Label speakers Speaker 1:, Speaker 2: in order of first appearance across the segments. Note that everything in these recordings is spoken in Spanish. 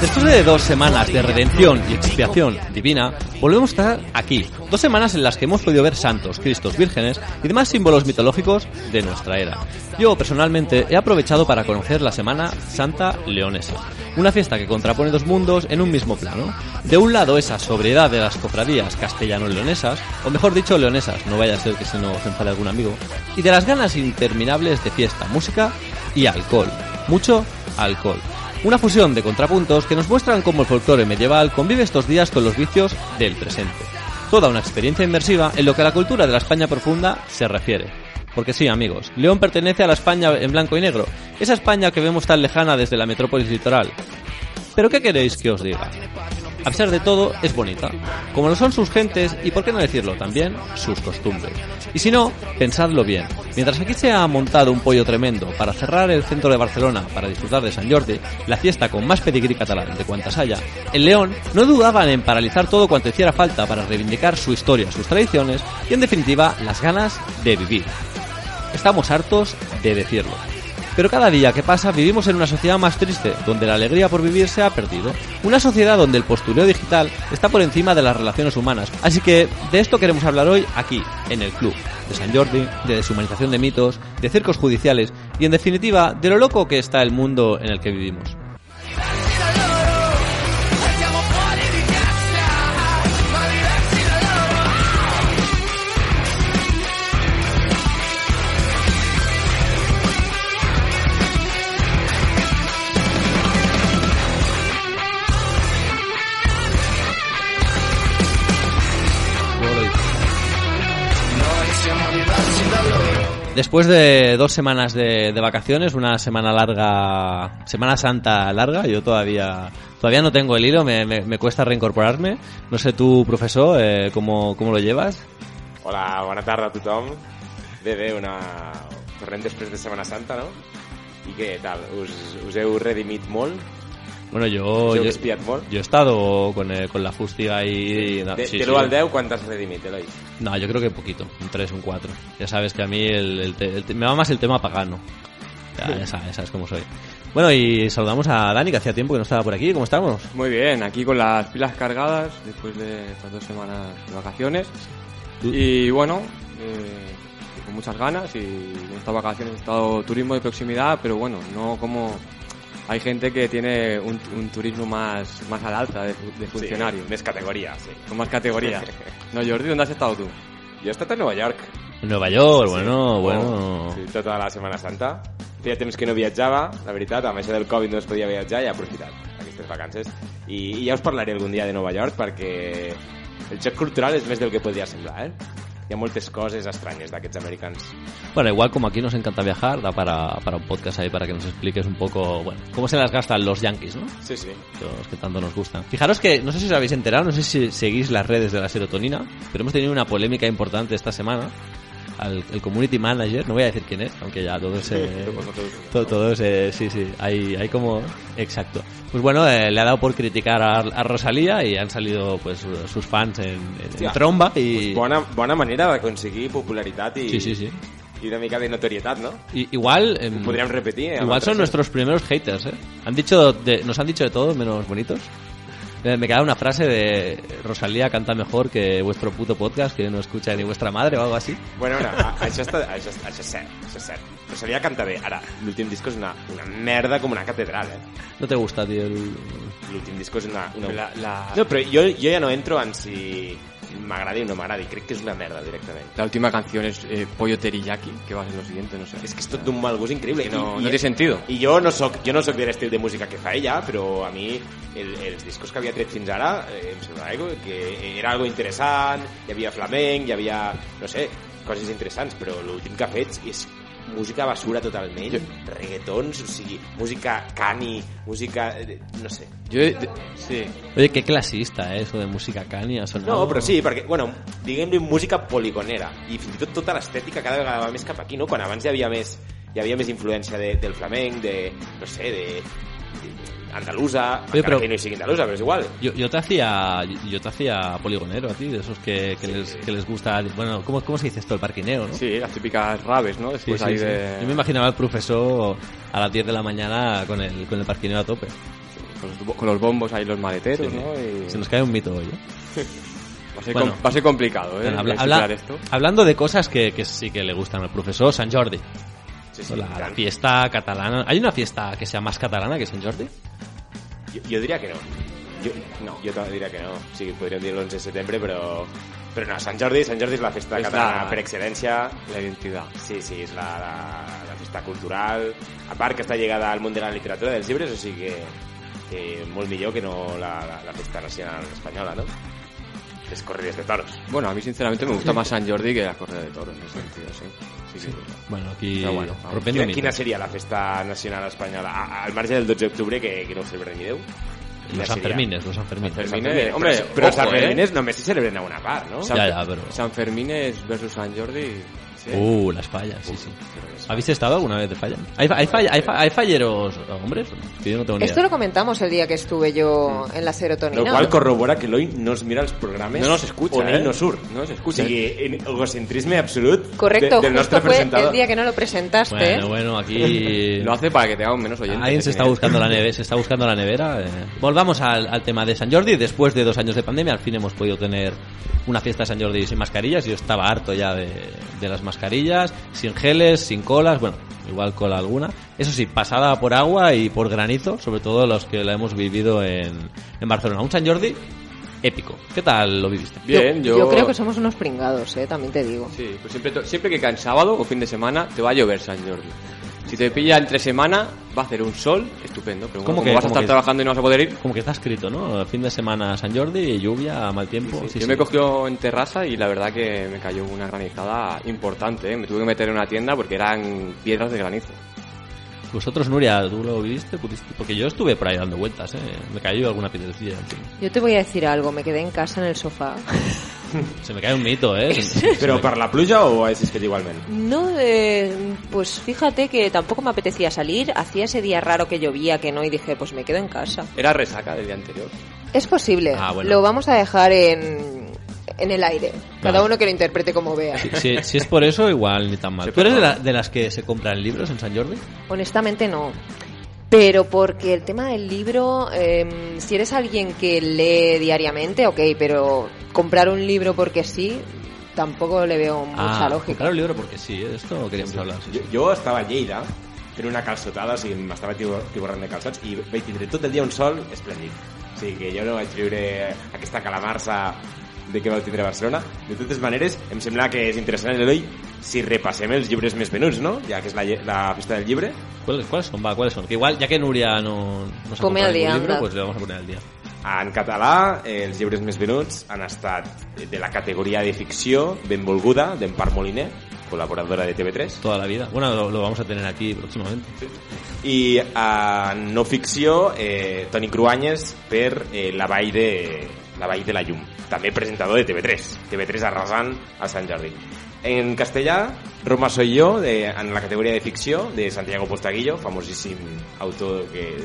Speaker 1: Después de dos semanas de redención y expiación divina, volvemos a estar aquí. Dos semanas en las que hemos podido ver santos, cristos, vírgenes y demás símbolos mitológicos de nuestra era. Yo personalmente he aprovechado para conocer la Semana Santa Leonesa, una fiesta que contrapone dos mundos en un mismo plano. De un lado esa sobriedad de las cofradías castellano-leonesas, o mejor dicho leonesas, no vaya a ser que se nos enfade algún amigo, y de las ganas interminables de fiesta, música y alcohol. Mucho alcohol. Una fusión de contrapuntos que nos muestran cómo el folclore medieval convive estos días con los vicios del presente. Toda una experiencia inmersiva en lo que a la cultura de la España profunda se refiere. Porque sí, amigos, León pertenece a la España en blanco y negro, esa España que vemos tan lejana desde la metrópolis litoral. Pero ¿qué queréis que os diga? A pesar de todo, es bonita, como lo son sus gentes y, por qué no decirlo también, sus costumbres. Y si no, pensadlo bien. Mientras aquí se ha montado un pollo tremendo para cerrar el centro de Barcelona para disfrutar de San Jordi, la fiesta con más pedigrí catalán de cuantas haya, en León no dudaban en paralizar todo cuanto hiciera falta para reivindicar su historia, sus tradiciones y, en definitiva, las ganas de vivir. Estamos hartos de decirlo. Pero cada día que pasa vivimos en una sociedad más triste, donde la alegría por vivir se ha perdido. Una sociedad donde el postureo digital está por encima de las relaciones humanas. Así que de esto queremos hablar hoy aquí, en el club. De San Jordi, de deshumanización de mitos, de circos judiciales y en definitiva de lo loco que está el mundo en el que vivimos. Después de dos semanas de, de vacaciones, una semana larga, Semana Santa larga, yo todavía todavía no tengo el hilo, me, me- me cuesta reincorporarme. No sé tú, profesor, eh, cómo, cómo lo llevas.
Speaker 2: Hola, bona tarda a tothom. Bé, bé, una... Tornem després de Setmana Santa, no? I què tal? Us, us heu redimit molt?
Speaker 1: Bueno, yo,
Speaker 2: Us heu
Speaker 1: yo,
Speaker 2: espiat molt?
Speaker 1: yo he estado con, eh, con la fustiga y... no,
Speaker 2: de
Speaker 1: sí,
Speaker 2: de
Speaker 1: sí.
Speaker 2: l'1 al 10, quan t'has redimit, Eloi?
Speaker 1: No, yo creo que poquito, un 3, un 4. Ya sabes que a mí el, el te- el te- me va más el tema pagano. Ya, ya sabes, sabes cómo soy. Bueno, y saludamos a Dani, que hacía tiempo que no estaba por aquí. ¿Cómo estamos?
Speaker 3: Muy bien, aquí con las pilas cargadas después de estas dos semanas de vacaciones.
Speaker 1: Du-
Speaker 3: Y bueno, eh, con muchas ganas y en estas vacaciones he estado turismo de proximidad, pero bueno, no como hay gente que tiene un, un turismo más, más al alza de, fu- de funcionario,
Speaker 2: Sí, més categoria, sí.
Speaker 3: con más categoría. No, Jordi, ¿dónde has estado tú?
Speaker 2: Jo he estat a Nova York.
Speaker 1: En Nueva York, bueno,
Speaker 2: Oh,
Speaker 1: bueno.
Speaker 2: Sí, tota la Setmana Santa. Feia temps que no viatjava, la veritat, amb això del Covid no es podia viatjar i he aprofitat aquestes vacances. I, I ja us parlaré algun dia de Nova York perquè el xoc cultural és més del que podria semblar, eh? Hi ha moltes coses estranyes d'aquests americans.
Speaker 1: Bueno, igual como aquí nos encanta viajar, da para, para un podcast ahí para que nos expliques un poco, bueno, cómo se las gastan los yankees, ¿no?
Speaker 2: Sí, sí.
Speaker 1: Los que tanto nos gustan. Fijaros que, no sé si os habéis enterado, no sé si seguís las redes de la serotonina, pero hemos tenido una polémica importante esta semana. Al, el community manager, no voy a decir quién es, aunque ya todos se... to- todos, eh, sí, sí, hay, hay como... Exacto. Pues bueno, eh, le ha dado por criticar a, a Rosalía y han salido pues sus fans en, en- en
Speaker 2: Hostia. Pues
Speaker 1: tromba y...
Speaker 2: Doncs Bona, bona manera d'aconseguir popularitat i,
Speaker 1: Sí, sí, sí.
Speaker 2: i una mica de notorietat, no?
Speaker 1: I- igual... em,
Speaker 2: Podríem repetir. eh, amb
Speaker 1: Igual son
Speaker 2: altres-
Speaker 1: nuestros primeros haters, ¿eh? Han dicho de- nos han dicho de todo menos bonitos. Eh, Me queda una frase de Rosalía canta mejor que vuestro puto podcast que no escucha ni vuestra madre o algo así.
Speaker 2: Bueno, no, a- això, està, això, això és cert, això és cert. Però Sabia cantar bé. Ara, l'últim disco és una, una merda com una catedral, eh?
Speaker 1: No te gusta, tío. el-
Speaker 2: L'últim disco és una... una...
Speaker 3: La- la-
Speaker 2: No, però jo, jo ja no entro en si m'agradi o no m'agradi. Crec que és una merda, directament.
Speaker 3: La última canción es eh, Pollo Teriyaki, que va a ser lo siguiente, no sé.
Speaker 2: És que és tot d'un mal gust increïble.
Speaker 3: que no-
Speaker 2: I-
Speaker 3: no
Speaker 2: i-
Speaker 3: té sentido.
Speaker 2: I jo no soc, jo no soc de l'estil de música que fa ella, però a mi el, els discos que havia tret fins ara eh, em semblava que- que era algo interessant, hi havia flamenc, hi havia, no sé, coses interessants, però l'últim que ha fet és música basura totalment, reggaetons, o sigui, música cani, música... eh, no sé.
Speaker 3: Yo, de- de- sí,
Speaker 1: Oye, qué clasista, ¿eh? Eso de música cani ha sonado.
Speaker 2: No, però sí, perquè, bueno, diguem-li música poligonera, i fins i tot tota l'estètica cada vegada va més cap aquí, no? Quan abans hi havia més, hi havia més influència de, del flamenc, de, no sé, de, de andalusa,
Speaker 1: Oye,
Speaker 2: Oye,
Speaker 1: però-
Speaker 2: encara que no hi sigui andalusa, pero és igual.
Speaker 1: Yo, yo te hacía yo te hacía poligonero a ti, de esos que, que, les, que les gusta... Bueno, ¿cómo, ¿cómo se dice esto? El parquineo, ¿no?
Speaker 3: sí, las típicas rabes, ¿no?
Speaker 1: Sí,
Speaker 3: Después
Speaker 1: sí,
Speaker 3: ahí
Speaker 1: sí.
Speaker 3: de...
Speaker 1: Yo me imaginaba al profesor a las 10 de la mañana con el, con el parquineo a tope.
Speaker 3: con los, bo- con los bombos ahí los maleteros,
Speaker 1: Sí.
Speaker 3: ¿no? Y
Speaker 1: Se nos cae un mito hoy. ¿eh?
Speaker 3: va, a ser
Speaker 1: Bueno.
Speaker 3: com- va a ser complicado, ¿eh?
Speaker 1: Bueno, habla-
Speaker 3: superar
Speaker 1: habla-
Speaker 3: esto.
Speaker 1: hablando de cosas que, que sí que le gustan al profesor, San Jordi.
Speaker 2: Sí, sí,
Speaker 1: La, la
Speaker 2: gran-
Speaker 1: fiesta catalana. ¿Hay una fiesta que sea más catalana que San Jordi?
Speaker 2: Yo, jo diria que no. Jo, no, jo te diria que no. O sigui, podríem dir l'11 de setembre, però... Però no, Sant Jordi, Sant Jordi és la festa
Speaker 3: És
Speaker 2: catalana
Speaker 3: la-
Speaker 2: per excel·lència.
Speaker 3: La identidad.
Speaker 2: Sí, sí, és la, la, la festa cultural. A part que està lligada al món de la literatura dels llibres, o sigui que, que molt millor que no la, la, la festa nacional espanyola, no? este Les corrides de toros.
Speaker 3: Bueno, a mí sinceramente me gusta más San Jordi que la corrida de toros, en ese sentido, sí. Sí, sí.
Speaker 1: Bueno, aquí
Speaker 3: Pero bueno,
Speaker 1: rompiendo
Speaker 2: Quina,
Speaker 1: mitos.
Speaker 2: quina seria la festa nacional espanyola? A, al marge del 12 d'octubre, que, que no ho celebra ni Déu. Quina
Speaker 1: Los
Speaker 2: seria?
Speaker 1: Sanfermines, los Sanfermines.
Speaker 3: Sanfermines.
Speaker 2: Sanfermines.
Speaker 3: Hombre,
Speaker 2: Hombre, però els
Speaker 3: ojo, eh?
Speaker 2: Sanfermines només se celebren a una part, no?
Speaker 3: San-
Speaker 1: Ya, ya, pero...
Speaker 3: San Fermines versus San Jordi. Sí.
Speaker 1: Uh, las fallas, sí, sí. ¿Habéis estado alguna vez de falla? ¿Hay, fa- hay, falla- hay, fa- hay falleros eh, hombres? Que yo no tengo ni
Speaker 4: Esto
Speaker 1: idea.
Speaker 4: lo comentamos el día que estuve yo en la
Speaker 2: Lo
Speaker 4: serotonina.
Speaker 2: qual corrobora que l'Oi no es mira els programes
Speaker 3: No nos escucha,
Speaker 2: on ell
Speaker 3: eh?
Speaker 2: no surt.
Speaker 3: No nos
Speaker 2: O
Speaker 3: escucha.
Speaker 2: sigui, en egocentrisme absolut
Speaker 4: Correcto,
Speaker 2: de, del
Speaker 4: justo
Speaker 2: nostre
Speaker 4: fue el
Speaker 2: presentador.
Speaker 4: día que no lo presentaste.
Speaker 1: Bueno, bueno, aquí...
Speaker 3: Lo hace para que tengamos menos oyentes.
Speaker 1: Alguien se está
Speaker 3: eh.
Speaker 1: buscando la nevera, se está buscando la nevera. eh. Volvamos al, al tema de San Jordi. Después de dos años de pandemia, al fin hemos podido tener una fiesta de San Jordi sin mascarillas. Yo estaba harto ya de, de las mascarillas, sin geles, sin colas, bueno, igual cola alguna. Eso sí, pasada por agua y por granizo, sobre todo los que la hemos vivido en, en Barcelona. Un San Jordi épico. ¿Qué tal lo viviste?
Speaker 3: Bien, yo...
Speaker 4: yo... creo que somos unos pringados, eh, también te digo.
Speaker 3: Sí, pues siempre, to- siempre que cae en sábado o fin de semana te va a llover San Jordi. Si te pilla entre semana, va a hacer un sol estupendo. Pero bueno,
Speaker 1: ¿Cómo
Speaker 3: como
Speaker 1: que-
Speaker 3: vas a
Speaker 1: cómo
Speaker 3: estar
Speaker 1: que-
Speaker 3: trabajando y no vas a poder ir?
Speaker 1: Como que está escrito, ¿no? Fin de semana San Jordi, lluvia, mal tiempo. Sí,
Speaker 3: yo
Speaker 1: sí.
Speaker 3: me cogió en terraza y la verdad que me cayó una granizada importante. ¿eh? Me tuve que meter en una tienda porque eran piedras de granizo.
Speaker 1: Vosotros, Nuria, ¿tú lo viviste? ¿Pudiste? Porque yo estuve por ahí dando vueltas, ¿eh? Me cayó alguna piedrecilla, en fin.
Speaker 4: Yo te voy a decir algo, me quedé en casa en el sofá.
Speaker 1: Se me cae un mito, ¿eh? Se- se
Speaker 2: Però
Speaker 1: me-
Speaker 2: per la pluja o ha existit igualment?
Speaker 4: No, eh, pues fíjate que tampoco me apetecía salir, hacía ese día raro que llovía, que no, y dije, pues me quedo en casa.
Speaker 3: Era resaca del día anterior.
Speaker 4: Es posible,
Speaker 1: Ah, bueno.
Speaker 4: lo vamos a dejar en, en el aire, cada
Speaker 1: Vale.
Speaker 4: uno que lo interprete como vea.
Speaker 1: Si, si- si es por eso, igual ni tan mal.
Speaker 3: Se
Speaker 1: ¿Tú eres de,
Speaker 3: perdona.
Speaker 1: la- de las que se compran libros en San Jordi?
Speaker 4: Honestamente no. Pero porque el tema del libro, eh, si eres alguien que lee diariamente, ok, pero comprar un libro porque sí, tampoco le veo mucha lógica.
Speaker 1: Ah, Claro, el libro porque sí, ¿eh? esto queríamos hablar. sí, sí.
Speaker 2: Jo, jo estava a Lleida fent una calçotada, o sigui, m'estava tibor- tiborrant de calçots i vaig tindre tot el dia un sol esplèndid. O sigui que jo no vaig viure aquesta calamarsa de que vau tindre a Barcelona. De totes maneres, em sembla que és interessant, Eloi, si repassem els llibres més venuts, no? Ja que és la, lle- la festa del llibre.
Speaker 1: ¿Cuáles, cuáles son? Va, ¿cuáles son? Que igual, ya que Nuria no, no se ha
Speaker 4: Come
Speaker 1: comprado
Speaker 4: al día,
Speaker 1: ningún libro,
Speaker 4: anda.
Speaker 1: pues le vamos a poner al día.
Speaker 2: En català, eh, els llibres més venuts han estat de la categoria de ficció, benvolguda, d'Empar Moliner, col·laboradora de TV3,
Speaker 1: Toda la vida. Bueno, lo, lo vamos a tener aquí próximamente.
Speaker 2: I a no ficció, eh, Toni Cruanyes per eh, la, vall de, la Vall de la Llum. També presentador de TV3. TV3 arrasant a Sant Jordi. En castellà, Roma soy yo, de, en la categoria de ficció, de Santiago Postaguillo, famosíssim autor que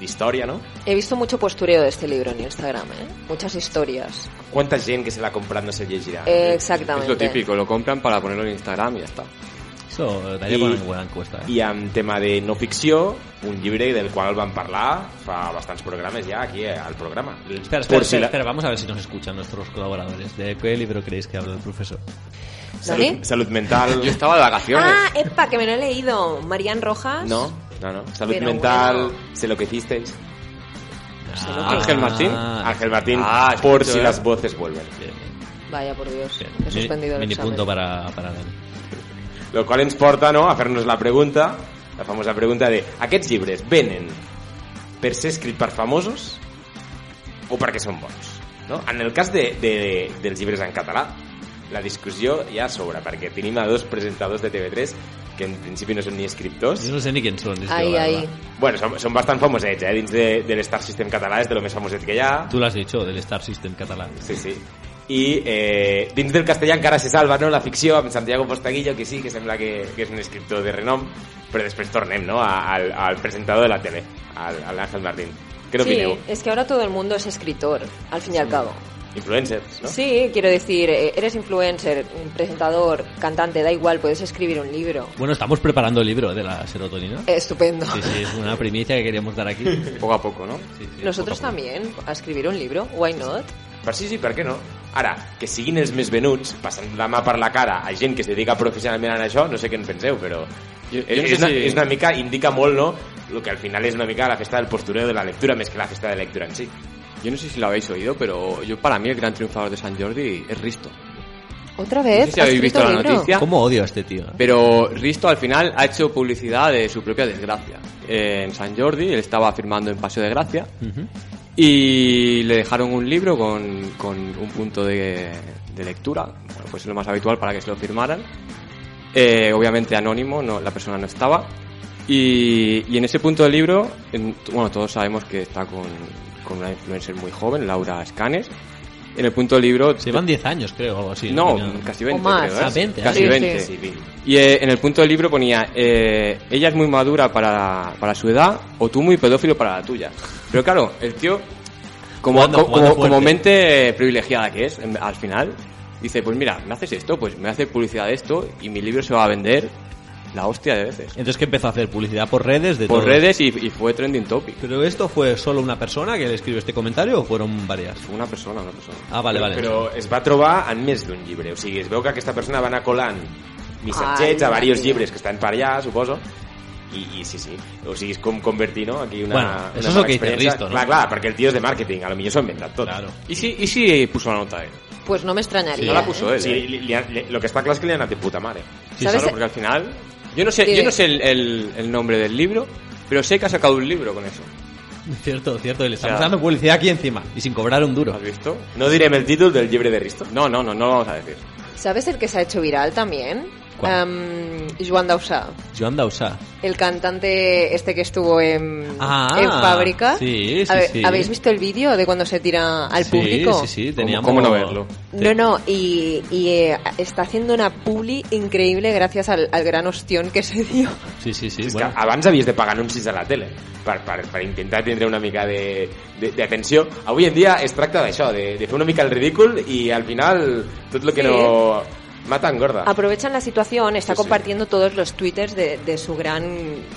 Speaker 2: d'història, no?
Speaker 4: He visto mucho postureo de este libro en Instagram, ¿eh? muchas historias.
Speaker 2: Quanta gent que se l'ha comprat no se
Speaker 1: Ah,
Speaker 2: llegirà.
Speaker 4: Eh,
Speaker 3: Es
Speaker 4: exactamente.
Speaker 3: lo típico, lo compran para ponerlo en Instagram y ya está.
Speaker 1: Eso eh, daría
Speaker 2: Y-
Speaker 1: para una buena encuesta. ¿eh?
Speaker 2: I amb tema de no ficció, un llibre del qual vam parlar fa bastants programes ja aquí eh, al programa.
Speaker 1: Espera, espera,
Speaker 2: Por si
Speaker 1: espera,
Speaker 2: la-
Speaker 1: espera, vamos a ver si nos escuchan nuestros colaboradores. ¿De qué libro creéis que habla el profesor?
Speaker 4: ¿Dani?
Speaker 2: Salut, salut mental.
Speaker 3: Yo estaba de vacaciones.
Speaker 4: Ah, epa, que me lo he leído. Marian Rojas.
Speaker 2: No, no, no. Salud
Speaker 4: ¿Ah? Pero
Speaker 2: mental,
Speaker 4: bueno.
Speaker 2: sé lo que hicisteis.
Speaker 1: Ángel
Speaker 4: Pues
Speaker 1: Ah,
Speaker 2: Ángel Martín. Ángel Martín, por
Speaker 3: Ah, escucho,
Speaker 2: si
Speaker 3: eh.
Speaker 2: las voces vuelven.
Speaker 1: Bien,
Speaker 4: Vaya por Dios.
Speaker 1: bien.
Speaker 4: He suspendido el
Speaker 1: Mini
Speaker 4: examen.
Speaker 1: punto para, para Dani.
Speaker 2: Lo qual ens porta no, a fer-nos la pregunta, la famosa pregunta de aquests llibres venen per ser escrit per famosos o perquè són bons? No? En el cas de, de, dels llibres en català, la discussió ja s'obre, perquè tenim a dos presentadors de TV3 que en principi no són ni escriptors,
Speaker 1: Yo no sé ni quién son. es que,
Speaker 4: Ahí,
Speaker 1: la
Speaker 4: ahí.
Speaker 1: verdad.
Speaker 2: bueno, són, són bastant famosets, eh? dins de, de l'Star System català és de lo més famoset que hi ha.
Speaker 1: Tú lo has dicho, del Star System catalán.
Speaker 2: Sí, sí. I eh, dins del castellà encara se salva no? la ficció amb Santiago Postaguillo, que sí, que sembla que, que és un escriptor de renom, però després tornem no? A- al, al presentador de la tele, al, al Ángel Martín. Què
Speaker 4: Sí,
Speaker 2: n'opineu?
Speaker 4: es que ahora todo el mundo es escritor, al fin y al cabo.
Speaker 2: Influencers, ¿no?
Speaker 4: Sí, quiero decir, eh, eres influencer, presentador, cantante, da igual, puedes escribir un libro.
Speaker 1: Bueno, estamos preparando el libro eh, de la serotonina.
Speaker 4: Eh. Estupendo.
Speaker 1: Sí, sí, es una primicia que queríamos dar aquí. Sí,
Speaker 3: Poco a poco, ¿no?
Speaker 1: sí,
Speaker 4: Nosotros
Speaker 1: poco a poco.
Speaker 4: también, a escribir un libro, why not?
Speaker 2: Per sí, sí, per què no? Ara, que siguin els més venuts, passant la mà per la cara a gent que es dedica professionalment a això, no sé què en penseu, però...
Speaker 3: Jo- jo
Speaker 2: és,
Speaker 3: no sé
Speaker 2: és, una,
Speaker 3: si-
Speaker 2: és una mica, indica molt, no?, el que al final és una mica la festa del postureo de la lectura més que la festa de la lectura en si.
Speaker 3: Yo no sé si lo habéis oído, pero yo para mí el gran triunfador de San Jordi es Risto.
Speaker 4: ¿Otra
Speaker 3: No
Speaker 4: vez?
Speaker 3: sé si
Speaker 4: ¿Ha
Speaker 3: habéis visto
Speaker 4: escrito
Speaker 3: la
Speaker 4: un libro?
Speaker 3: noticia.
Speaker 1: ¿Cómo odio a este tío? eh?
Speaker 3: Pero Risto al final ha hecho publicidad de su propia desgracia. En San Jordi él estaba firmando en Paseo de Gracia
Speaker 1: Ujú.
Speaker 3: y le dejaron un libro con, con un punto de, de lectura, bueno, pues es lo más habitual para que se lo firmaran. Eh, obviamente anónimo, no, la persona no estaba. Y, y en ese punto del libro, en- bueno, todos sabemos que está con, con una influencer muy joven, Laura Escanes. En el punto del libro...
Speaker 1: Se llevan 10 años, creo, o algo así.
Speaker 3: No,
Speaker 1: Coño.
Speaker 3: casi 20.
Speaker 4: O más.
Speaker 3: creo, ¿eh?
Speaker 1: Ah, 20,
Speaker 3: Casi
Speaker 4: sí, sí.
Speaker 3: 20.
Speaker 4: Sí,
Speaker 3: Y eh, en el punto del libro ponía, eh, ella es muy madura para, para su edad o tú muy pedófilo para la tuya. Pero claro, el tío, como,
Speaker 1: Jugando-
Speaker 3: co-
Speaker 1: jugando
Speaker 3: como- como
Speaker 1: fuerte.
Speaker 3: mente privilegiada que es, en- al final, dice, pues mira, me haces esto, pues me haces publicidad de esto y mi libro se va a vender la hostia de veces.
Speaker 1: Entonces que empezó a hacer publicidad por redes de
Speaker 3: Por
Speaker 1: todo.
Speaker 3: redes y, y fue trending topic.
Speaker 1: Pero esto fue solo una persona que le escribió este comentario o fueron varias.
Speaker 3: Fue Una persona, una persona.
Speaker 1: Ah, vale, vale.
Speaker 2: Però es va trobar en més d'un llibre. O sigui, es veu que aquesta persona va anar colant missatgets
Speaker 4: Ai,
Speaker 2: a diversos
Speaker 4: mira.
Speaker 2: llibres que estan per allà, suposo, i, i sí, sí. O sigui, és com convertir, no?, aquí una...
Speaker 1: Bueno,
Speaker 2: una
Speaker 1: eso es
Speaker 2: mala
Speaker 1: lo que dice
Speaker 2: experiència.
Speaker 1: Risto, ¿no?
Speaker 2: Clar, clar, perquè el tio és de màrqueting, a lo millor s'ho ha inventat tot.
Speaker 1: Claro.
Speaker 3: ¿Y si, y si puso la nota él?
Speaker 4: Pues no me extrañaría.
Speaker 3: No la
Speaker 4: ¿eh?
Speaker 3: puso él.
Speaker 2: Sí,
Speaker 3: ¿eh?
Speaker 2: li, li, han- li, lo que està clar és que li ha anat de puta mare.
Speaker 3: Sí,
Speaker 4: ¿Sabes?
Speaker 3: claro, porque al final... Yo no sé, yo
Speaker 4: Dime.
Speaker 3: no sé el, el- el nombre del libro, pero sé que ha sacado un libro con eso.
Speaker 1: Cierto, cierto. Y le estamos
Speaker 3: Ya.
Speaker 1: dando publicidad aquí encima. Y sin cobrar un duro.
Speaker 3: ¿Has visto?
Speaker 2: No direm el títol del llibre de Risto.
Speaker 3: No, no, no, no lo vamos a decir.
Speaker 4: ¿Sabes el que se ha hecho viral también?
Speaker 1: ¿Cuál?
Speaker 4: Em, Joan Dausá.
Speaker 1: Joan Dausá.
Speaker 4: El cantante este que estuvo en,
Speaker 1: Ah,
Speaker 4: en fábrica.
Speaker 1: sí, sí,
Speaker 4: A ver,
Speaker 1: sí.
Speaker 4: ¿Habéis visto el vídeo de cuando se tira al
Speaker 1: sí,
Speaker 4: público?
Speaker 1: Sí, sí,
Speaker 3: ¿Cómo-
Speaker 1: teníamos...
Speaker 3: cómo no verlo?
Speaker 4: No, no, y, y, eh, está haciendo una puli increíble gracias al, al gran ostión que se dio.
Speaker 1: Sí, sí, sí.
Speaker 2: Sí, és
Speaker 1: bueno.
Speaker 2: que abans havies de pagar anuncis a la tele per, per, per intentar tindre una mica de- de- d'atenció. Avui en dia es tracta d'això, de, de fer una mica el ridícul i al final tot el que
Speaker 4: Sí. Ah,
Speaker 2: no mata engorda.
Speaker 4: Aprovechan la situación, está
Speaker 2: Sí, sí.
Speaker 4: compartiendo todos los twitters de, de su gran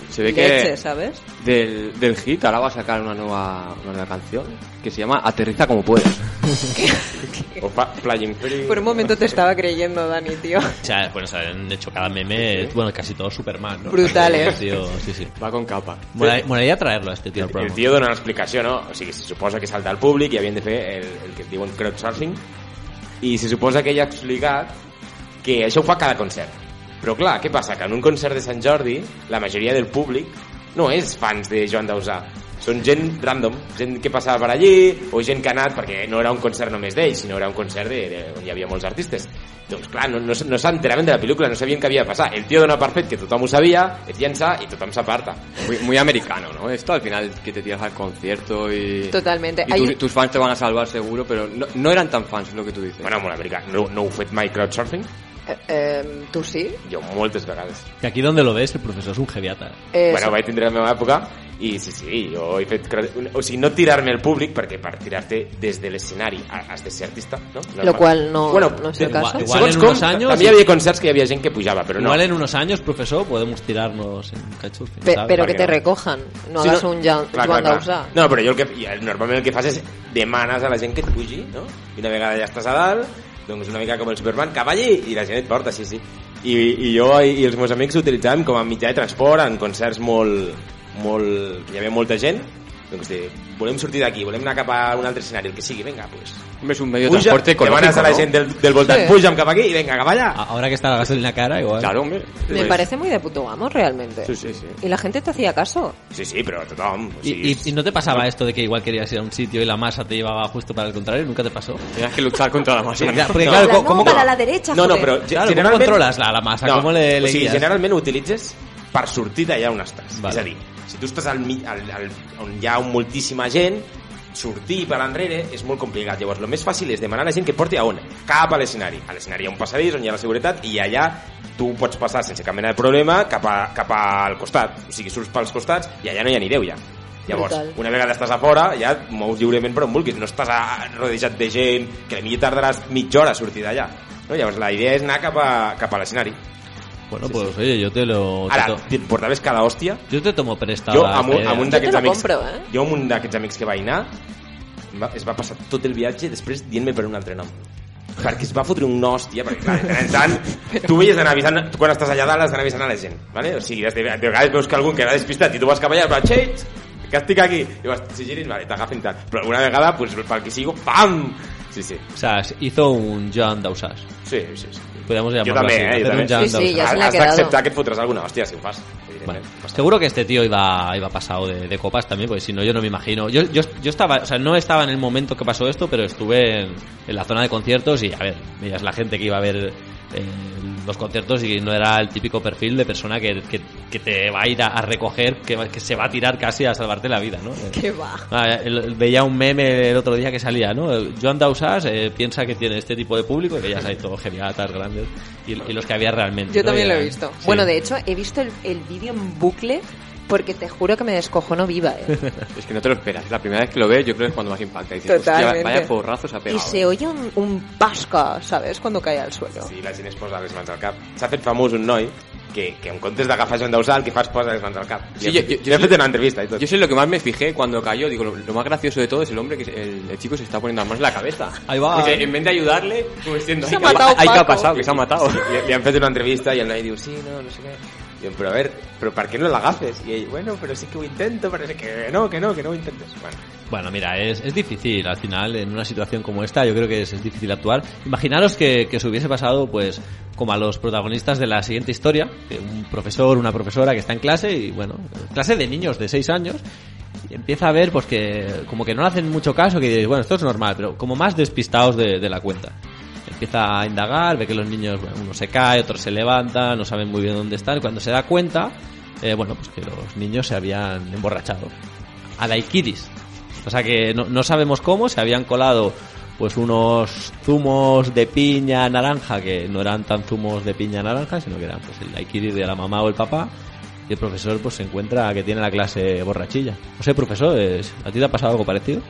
Speaker 3: Se ve que-
Speaker 4: leche, ¿sabes?
Speaker 3: Del, del hit ahora va a sacar una nueva, una nueva canción que se llama Aterriza como puedes.
Speaker 2: O fa, flying free.
Speaker 4: Por un momento te estaba creyendo, Dani, tío.
Speaker 1: O sea, bueno, se han hecho cada meme, bueno, casi todo Superman, ¿no?
Speaker 4: Brutales.
Speaker 1: Tío, sí, sí.
Speaker 3: Va con capa.
Speaker 1: Mola- Molaría traerlo a este tío al
Speaker 2: El
Speaker 1: programa.
Speaker 2: tio dona una explicació, no? O sigui, se suposa que salta al públic i havien de fer el, el que es diuen crowdsourcing i se suposa que ell ha explicat que això ho fa cada concert. Però clar, què passa? Que en un concert de Sant Jordi la majoria del públic no és fans de Joan Dausà. Són gent random, gent que passava per allí o gent que ha anat perquè no era un concert només d'ell, sinó era un concert de, de, on hi havia molts artistes. Doncs clar, no, no, s- no s'enteraven de la pel·lícula, no sabien què havia de passar. El tio dona per fet que tothom ho sabia, es llença i tothom s'aparta.
Speaker 3: Muy, muy americano, ¿no? Esto al final que te tiras al concierto y...
Speaker 4: Totalmente.
Speaker 3: y
Speaker 4: Hay
Speaker 3: tus,
Speaker 4: un-
Speaker 3: tus fans te van a salvar seguro, pero no, no eran tan fans lo que tú dices.
Speaker 2: Bueno, molt americà. No, no heu fet mai crowdsurfing?
Speaker 4: Eh, eh, ¿Tú sí?
Speaker 2: Jo moltes vegades.
Speaker 1: Que aquí donde lo ves, el profesor es un geviata.
Speaker 4: Eh,
Speaker 2: bueno,
Speaker 4: so-
Speaker 2: vaig tindre la meva època i sí, sí, jo he fet... crowd- O sigui, no tirar-me al públic, perquè per tirar-te des de l'escenari ha- has de ser artista, no?
Speaker 4: Lo cual no- no és el
Speaker 2: de-
Speaker 4: cas.
Speaker 1: Igual, igual
Speaker 2: Segons
Speaker 1: en
Speaker 2: com,
Speaker 1: unos años...
Speaker 2: també hi havia concerts que hi havia gent que pujava, però no.
Speaker 1: Igual en unos años, profesor, podemos tirarnos en cachurfing,
Speaker 4: Pe-
Speaker 1: ¿sabes?
Speaker 4: pero
Speaker 2: ¿Para
Speaker 4: que
Speaker 2: qué
Speaker 4: te
Speaker 2: no?
Speaker 4: recojan, no
Speaker 2: Sí,
Speaker 4: hagas un Jan-
Speaker 2: Clar,
Speaker 4: Joan
Speaker 2: clar, clar.
Speaker 4: Dausà.
Speaker 2: No, però jo el que, i el- normalment el que fas és demanes a la gent que et pugi, no? I una vegada ja estàs a dalt, doncs una mica com el Superman, cap allí, i la gent et porta, sí, sí. I, i jo i els meus amics ho utilitzàvem com a mitjà de transport, en concerts molt... molt que hi havia molta gent, doncs de, volem sortir d'aquí, volem anar cap a un altre escenari, el que sigui, vinga, pues.
Speaker 3: Hombre, es un medio de transporte económico,
Speaker 2: demanes a la
Speaker 3: ¿no?
Speaker 2: gent del, del voltant,
Speaker 4: Sí.
Speaker 2: puja'm cap aquí, i vinga, cap allà.
Speaker 1: A- Ahora que está la gasolina cara, igual.
Speaker 3: Claro, hombre.
Speaker 4: Me
Speaker 3: Pues-
Speaker 4: parece muy de puto amo realmente.
Speaker 3: Sí, sí, sí.
Speaker 4: Y la gente te hacía caso.
Speaker 2: Sí, sí, però tothom. O
Speaker 1: ¿Y,
Speaker 2: sigui,
Speaker 1: y- y no te pasaba esto de que igual querías ir a un sitio y la masa te llevaba justo para el contrario? ¿Nunca te pasó?
Speaker 3: Tenías que luchar contra la masa.
Speaker 1: Ya, porque
Speaker 2: No.
Speaker 1: claro,
Speaker 4: Habla,
Speaker 1: ¿cómo-
Speaker 4: no,
Speaker 1: cómo-
Speaker 4: para la derecha,
Speaker 2: No, no,
Speaker 4: joder.
Speaker 2: però
Speaker 1: Claro, ¿cómo
Speaker 2: generalment...
Speaker 1: controlas la, la masa? ¿Cómo le, le
Speaker 2: o sigui,
Speaker 1: guías?
Speaker 2: generalment ho utilitzes per sortir d'allà on estàs.
Speaker 1: Vale.
Speaker 2: Vale. És a dir, si tu estàs al, mi- al, al, on hi ha moltíssima gent, sortir per enrere és molt complicat. Llavors, el més fàcil és demanar a la gent que et porti a on? Cap a l'escenari. A l'escenari hi ha un passadís on hi ha la seguretat i allà tu pots passar sense cap mena de problema cap, a, cap al costat. O sigui, surts pels costats i allà no hi ha ni Déu ja. Llavors,
Speaker 4: Brutal.
Speaker 2: una vegada estàs a fora, ja et mous lliurement per on vulguis. No estàs a- rodejat de gent, que potser tardaràs mitja hora a sortir d'allà. No? Llavors, la idea és anar cap a, cap a l'escenari.
Speaker 1: Bueno, pues oye, yo te lo... te
Speaker 2: Ara,
Speaker 1: to-
Speaker 2: te portaves cada hòstia.
Speaker 1: yo te tomo prestada.
Speaker 2: Jo amb, un,
Speaker 1: esta
Speaker 2: amb un
Speaker 1: idea.
Speaker 4: Jo te
Speaker 2: d'aquests
Speaker 4: la
Speaker 2: amics...
Speaker 4: compro, eh?
Speaker 2: Jo amb un d'aquests amics que vaig anar, va, es va passar tot el viatge després dient-me per un altre nom. Perquè es va fotre un hòstia, perquè clar, de tant en tant, tu veies d'anar avisant, tu quan estàs allà dalt has d'anar avisant a la gent, ¿vale? o sigui, de, de vegades veus que algun queda despistat i tu vas cap allà i vas, xeix, que estic aquí, i vas, si giris, vale, t'agafen i tal, però alguna vegada, pues, pel que sigo, pam! Sí, sí,
Speaker 1: O sea, hizo un Joan Dausas.
Speaker 2: sí, sí. sí.
Speaker 1: Podríamos llamarlo
Speaker 2: també,
Speaker 1: así,
Speaker 2: eh,
Speaker 1: hacer
Speaker 2: jo
Speaker 1: un
Speaker 2: també.
Speaker 1: Joan
Speaker 4: Sí, sí,
Speaker 1: Dausas.
Speaker 4: ya se le ha
Speaker 2: Has
Speaker 4: quedado.
Speaker 2: d'acceptar que et fotràs alguna hòstia, si ho fas,
Speaker 1: Bueno,
Speaker 2: evidentment.
Speaker 1: seguro que este tío iba, iba pasado de, de copas también, porque si no, yo no me imagino. Yo, yo, yo estaba, o sea, no estaba en el momento que pasó esto, pero estuve en, en la zona de conciertos y, a ver, miras la gente que iba a ver eh, los conciertos y no era el típico perfil de persona que, que, que te va a ir a, a recoger, que, va- que se va a tirar casi a salvarte la vida, ¿no? Eh,
Speaker 4: Qué va.
Speaker 1: Ah, el- el- veía un meme el otro día que salía, ¿no? El Joan Dausas eh, piensa que tiene este tipo de público, que ya hay todo geniatas grandes, y, y los que había realmente.
Speaker 4: Yo
Speaker 1: ¿no?
Speaker 4: también
Speaker 1: Y
Speaker 4: lo he
Speaker 1: eran-
Speaker 4: visto.
Speaker 1: sí.
Speaker 4: Bueno, de hecho, he visto el, el vídeo en bucle porque te juro que me descojono viva, eh.
Speaker 3: Es que no te lo esperas. La primera vez que lo ves, yo creo que es cuando más impacta. Y dices, hostia,
Speaker 4: Totalmente.
Speaker 3: vaya porrazo se ha
Speaker 4: Y
Speaker 3: pegado.
Speaker 4: se oye un, un pasca, ¿sabes? Cuando cae al suelo.
Speaker 2: Sí, la gent es posa les mans al cap. S'ha fet famós un noi que, que en comptes d'agafar Joan Dausà, el que fa es posa les mans al cap.
Speaker 3: Sí,
Speaker 2: jo,
Speaker 3: jo- jo-
Speaker 2: jo, he fet una entrevista i tot.
Speaker 3: Yo sé lo que más me fijé cuando cayó. Digo, lo, lo más gracioso de todo es el hombre que se- el, el chico se está poniendo las manos en la cabeza.
Speaker 1: Ahí va.
Speaker 3: Porque en vez de ayudarle, como diciendo,
Speaker 4: Se
Speaker 3: "Ay,
Speaker 4: ha
Speaker 3: que
Speaker 4: matado
Speaker 3: ay, que ha
Speaker 4: Paco".
Speaker 3: pasado, que se ha matado.
Speaker 2: li, li, han fet una entrevista i el noi diu, sí, no, no sé què. Diu, però a veure, però per què no l'agafes? I ell, bueno, però sí que ho intento, però sí que no, que no, que no ho intentes. Bueno,
Speaker 1: Bueno, mira, es, es difícil al final en una situación como esta, yo creo que es, es difícil actuar. Imaginaros que, que se hubiese pasado, pues, como a los protagonistas de la siguiente historia, que un profesor, una profesora que está en clase y, bueno, clase de niños de 6 años, y empieza a ver, pues, que como que no le hacen mucho caso, que dices, bueno, esto es normal, pero como más despistados de, de la cuenta. Empieza a indagar, ve que los niños, bueno, uno se cae, otro se levanta, no saben muy bien dónde están, y cuando se da cuenta, eh, bueno, pues que los niños se habían emborrachado. A daiquiris. O sea que no, no sabemos cómo, se habían colado pues unos zumos de piña naranja que no eran tan zumos de piña naranja, sino que eran pues el daiquiri de la mamá o el papá. Y el profesor pues se encuentra que tiene la clase borrachilla. No sé, profesor, eh, ¿a ti te ha pasado algo parecido?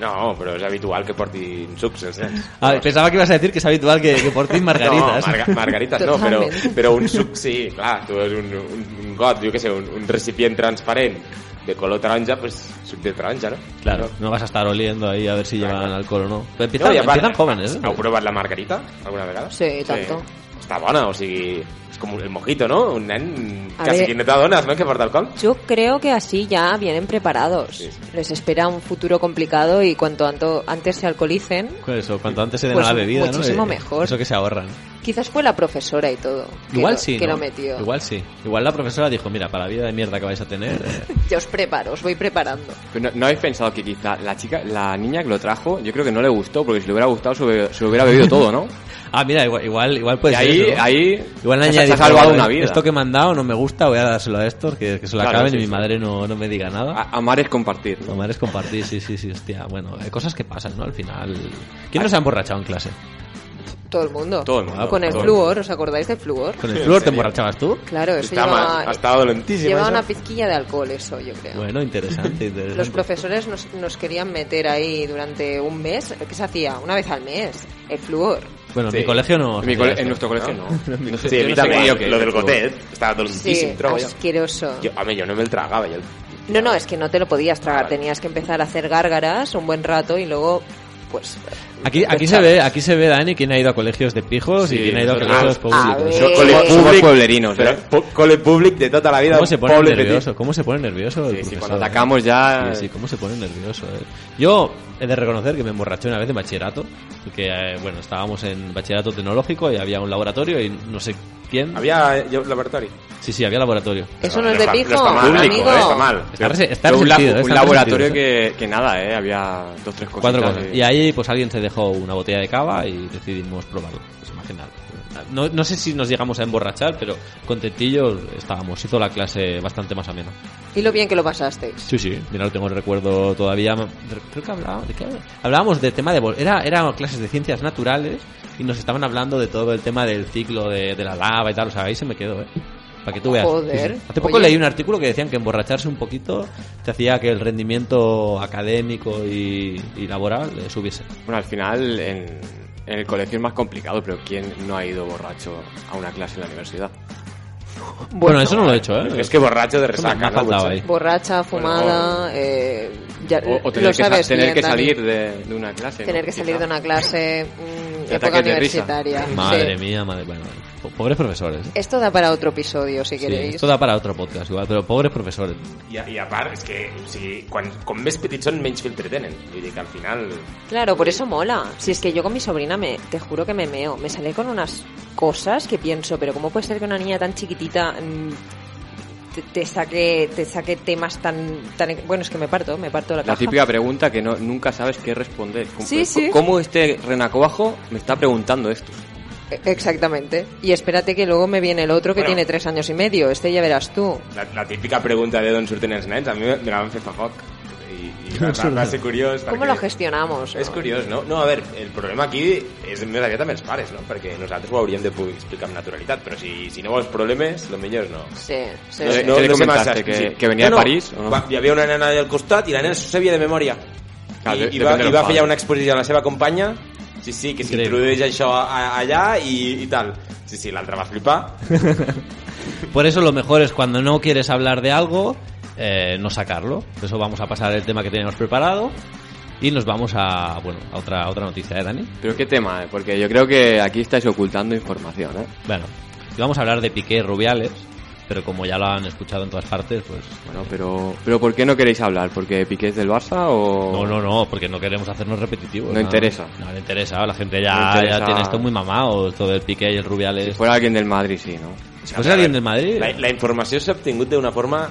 Speaker 2: no, però és habitual que portin sucs els nens.
Speaker 1: Ah, pensaba que ibas a decir que es habitual que, que por ti margaritas.
Speaker 2: No, marga- margaritas no, però,
Speaker 4: Totalment.
Speaker 2: però un suc sí, clar, tu és un, un, un got, jo què sé, un, un recipient transparent de color taronja, pues suc de taronja, no?
Speaker 1: Claro,
Speaker 2: No.
Speaker 1: no vas a estar oliendo ahí a ver si
Speaker 2: Claro.
Speaker 1: llevan alcohol o no. Pero empiezan,
Speaker 2: i a part,
Speaker 1: empiezan jóvenes, ¿eh?
Speaker 2: Heu provat la margarita alguna vegada?
Speaker 4: Sí, tanto.
Speaker 2: Està bona, o sigui, és com el mojito, no? Un nen
Speaker 4: A
Speaker 2: quasi
Speaker 4: ver.
Speaker 2: que no t'adones, no?, que porta alcohol.
Speaker 4: Yo creo que así ya vienen preparados.
Speaker 2: Sí, sí.
Speaker 4: Les espera un futuro complicado y cuanto anto- antes se alcoholicen,
Speaker 1: Con Eso, cuanto antes se den
Speaker 4: Pues
Speaker 1: a la bebida, ¿no?
Speaker 4: muchísimo
Speaker 1: Eh,
Speaker 4: mejor.
Speaker 1: Eso que se ahorran.
Speaker 4: quizás fue la profesora y todo. que
Speaker 1: Igual
Speaker 4: lo-
Speaker 1: sí.
Speaker 4: Que
Speaker 1: ¿no?
Speaker 4: lo metió.
Speaker 1: Igual sí. Igual la profesora dijo, mira, para la vida de mierda que vais a tener. eh,
Speaker 4: Yo os preparo, os voy preparando.
Speaker 3: Pero no, ¿no habéis pensado que quizá la chica, la niña que lo trajo, yo creo que no le gustó, porque si le hubiera gustado se, hubiera- se lo hubiera bebido todo, ¿no?
Speaker 1: Ah, mira, igual, igual, igual puede
Speaker 3: y
Speaker 1: ser.
Speaker 3: ahí,
Speaker 1: eso, ¿no?
Speaker 3: ahí
Speaker 1: Igual la
Speaker 3: se,
Speaker 1: niña
Speaker 3: ha- se ha
Speaker 1: dijo,
Speaker 3: salvado
Speaker 1: "Bueno,
Speaker 3: una vida.
Speaker 1: ¿eh? Esto que me han dado no me gusta, voy a dárselo a estos, que, que se lo
Speaker 3: Claro,
Speaker 1: acaben
Speaker 3: sí,
Speaker 1: y mi
Speaker 3: sí. Ah.
Speaker 1: madre no, no me diga nada.
Speaker 3: A- amar es compartir. ¿no?
Speaker 1: Tomar es compartir, sí, sí, sí, hostia. Bueno, hay cosas que pasan, ¿no? Al final.
Speaker 3: Ah.
Speaker 1: ¿Quién no se ha emborrachado en clase?
Speaker 4: Todo el mundo.
Speaker 3: Todo el mundo,
Speaker 4: Con el
Speaker 3: todo el
Speaker 4: flúor, ¿os acordáis del flúor?
Speaker 1: ¿Con el flúor te
Speaker 2: serio.
Speaker 1: emborrachabas tú?
Speaker 4: Claro, eso
Speaker 2: Està mal,
Speaker 4: lleva,
Speaker 2: està dolentíssim,
Speaker 4: lleva
Speaker 2: això.
Speaker 4: una pizquilla de alcohol, eso yo creo.
Speaker 1: Bueno, interesante, interesante.
Speaker 4: Los profesores nos, nos querían meter ahí durante un mes. ¿Qué se hacía? Una vez al mes. El flúor.
Speaker 1: Bueno,
Speaker 2: Sí.
Speaker 1: en mi colegio no.
Speaker 3: En, mi
Speaker 1: hacía
Speaker 3: cole- en
Speaker 1: eso.
Speaker 3: nuestro colegio no. No sé-
Speaker 2: Sí, a
Speaker 3: yo
Speaker 2: mi
Speaker 3: no sé
Speaker 2: també,
Speaker 3: cuál,
Speaker 2: jo,
Speaker 3: que-
Speaker 2: lo del
Speaker 3: que-
Speaker 2: gotet, estava
Speaker 4: Sí,
Speaker 2: dolentísimo, trobo jo.
Speaker 4: asqueroso.
Speaker 2: jo. Home, jo no me'l tragava, jo.
Speaker 4: No, no, es que no te lo podías tragar.
Speaker 2: Vale.
Speaker 4: Tenías que empezar a hacer gárgaras un buen rato y luego, pues.
Speaker 1: Aquí, aquí se ve, aquí se ve, Dani, quién ha ido a colegios de pijos y
Speaker 3: Sí,
Speaker 1: quién ha ido a
Speaker 3: nosotros-
Speaker 1: colegios
Speaker 4: Ah, a
Speaker 1: públicos.
Speaker 4: ver.
Speaker 3: Yo- cole-
Speaker 4: Eh,
Speaker 3: somos pueblerinos,
Speaker 2: però,
Speaker 3: ¿eh?
Speaker 2: pu- cole públic de tota la vida.
Speaker 1: ¿Cómo se pone
Speaker 2: poble
Speaker 1: nervioso? ¿Cómo se pone nervioso? el
Speaker 3: Sí, sí,
Speaker 1: profesor,
Speaker 3: cuando
Speaker 1: eh?
Speaker 3: atacamos ya...
Speaker 1: Sí, sí, cómo se pone nervioso. eh. Yo he de reconocer que me emborraché una vez en bachillerato, porque eh, bueno, estábamos en bachillerato tecnológico y había un laboratorio y no sé quién.
Speaker 2: petit. Havia jo, laboratori.
Speaker 1: Sí, sí, había laboratorio.
Speaker 4: Eso no es de
Speaker 2: está-
Speaker 4: pijo,
Speaker 2: está mal,
Speaker 4: amigo.
Speaker 2: eh, está mal.
Speaker 1: Está, rese- está
Speaker 3: Pero un, la-
Speaker 1: resentido, eh,
Speaker 3: un
Speaker 1: está
Speaker 3: laboratorio
Speaker 1: resentido, eh.
Speaker 3: que, que nada, ¿eh? Había dos, tres cosas.
Speaker 1: Cuatro cosas. Y ahí pues alguien se dejó una botella de cava y decidimos probarlo. Pues imaginad. No, no sé si nos llegamos a emborrachar, pero contentillos estábamos. Hizo la clase bastante más amena.
Speaker 4: Y lo bien que lo pasasteis.
Speaker 1: Sí, sí, mira, lo tengo el recuerdo todavía. Creo que hablábamos de qué hablábamos? hablábamos de tema de vol- era eran clases de ciencias naturales y nos estaban hablando de todo el tema del ciclo de, de la lava y tal, o sea, ahí se me quedó, eh. Para que tú veas.
Speaker 4: Joder.
Speaker 1: Sí, sí. Hace poco
Speaker 4: Oye.
Speaker 1: leí un artículo que decían que emborracharse un poquito te hacía que el rendimiento académico y, y laboral eh, subiese.
Speaker 3: Bueno, al final en, en el colegio es más complicado, pero ¿quién no ha ido borracho a una clase en la universidad?
Speaker 1: Bueno, eso no lo he hecho, ¿eh?
Speaker 2: Es que borracho de
Speaker 1: Eso me-
Speaker 2: resaca,
Speaker 1: me ha
Speaker 2: ¿no?
Speaker 1: faltado
Speaker 2: Mucho.
Speaker 1: ahí.
Speaker 4: Borracha, fumada,
Speaker 3: Bueno,
Speaker 4: eh, ya
Speaker 3: O, o
Speaker 4: lo
Speaker 3: tener, que, sa-
Speaker 4: sabes
Speaker 3: tener
Speaker 4: bien,
Speaker 3: que
Speaker 4: Dani.
Speaker 3: salir de, de una clase. ¿no?
Speaker 4: Tener que salir
Speaker 3: Quizá.
Speaker 4: de una clase mm,
Speaker 3: De
Speaker 4: época
Speaker 3: ataques de risa.
Speaker 4: universitaria. sí.
Speaker 1: Madre mía, madre bueno, po- Pobres profesores. ¿eh?
Speaker 4: Esto da para otro episodio, si
Speaker 1: Sí,
Speaker 4: queréis.
Speaker 1: esto da para otro podcast igual, pero pobres profesores.
Speaker 2: I, a- I a part, és que o sigui, quan, com més petits són, menys filtretenen. Vull dir que al final...
Speaker 4: Claro, por eso mola. Si es que yo con mi sobrina me, te juro que me meo. Me sale con unas cosas que pienso, pero ¿cómo puede ser que una niña tan chiquitita mm, te, te saque te saque temas tan tan bueno, es que me parto, me parto la
Speaker 3: La
Speaker 4: caja.
Speaker 3: típica pregunta que no, nunca sabes qué responder. Como-
Speaker 4: Sí, sí.
Speaker 3: ¿Cómo este renacuajo me está preguntando esto?
Speaker 4: E- Exactamente. Y espérate que luego me viene el otro que
Speaker 2: Bueno.
Speaker 4: tiene tres años y medio. Este ya verás tú.
Speaker 2: La, la típica pregunta de d'on surten els nens, a mi me me la van fer fa poc. I, i va, va, va ser curiós.
Speaker 4: ¿Cómo lo gestionamos?
Speaker 2: És
Speaker 4: no?
Speaker 2: curiós, no? No, a veure, el problema aquí és més aviat amb els pares, no? Perquè nosaltres ho hauríem de poder explicar amb naturalitat, però si, si no vols problemes, lo millor és no.
Speaker 4: Sí, sí.
Speaker 3: No sé,
Speaker 4: sí.
Speaker 3: Eh, ¿Qué le
Speaker 2: sé
Speaker 3: comentaste?
Speaker 2: massa.
Speaker 3: ¿Que- que venia de París o no?
Speaker 2: Va, hi havia una nena del costat i la nena s'ho sabia de memòria.
Speaker 3: Clar,
Speaker 2: I,
Speaker 3: de-
Speaker 2: i, va,
Speaker 3: depèn
Speaker 2: I
Speaker 3: del
Speaker 2: va
Speaker 3: pare.
Speaker 2: fer ja una exposició amb la seva companya Sí, sí, que
Speaker 1: Increïble.
Speaker 2: s'introdueix això a, a- allà i, i tal. Sí, sí, l'altra va flipar.
Speaker 1: Por eso lo mejor es cuando no quieres hablar de algo, eh, no sacarlo. Por eso vamos a pasar el tema que teníamos preparado y nos vamos a, bueno, a otra, a otra noticia, ¿eh, Dani?
Speaker 3: Pero qué tema, eh? porque yo creo que aquí estáis ocultando información. ¿eh?
Speaker 1: Bueno, y vamos a hablar de Piqué y Rubiales, pero como ya lo han escuchado en todas partes, pues...
Speaker 3: Bueno, pero, pero ¿por qué no queréis hablar? ¿Porque Piqué es del Barça o...?
Speaker 1: No, no, no, porque no queremos hacernos repetitivos.
Speaker 3: Oh. No interesa.
Speaker 1: No le interesa, la gente
Speaker 3: No
Speaker 1: ya,
Speaker 3: interesa. pues.
Speaker 1: ya tiene esto muy mamado, esto del Piqué y el Rubiales. Si
Speaker 3: Si
Speaker 1: fuese,
Speaker 3: fuera alguien del Madrid, sí, ¿no?
Speaker 1: alguien del Madrid...
Speaker 2: La, la informació s'ha obtingut d'una forma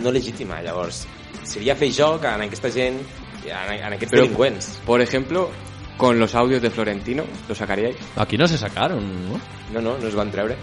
Speaker 2: no legítima, llavors. Seria fer joc en aquesta gent, en, en aquests
Speaker 3: Però-
Speaker 2: delinqüents.
Speaker 3: Por ejemplo, con los audios de Florentino, ¿lo sacaríais?
Speaker 1: Aquí no se sacaron, ¿no?
Speaker 2: No, no, no es van treure.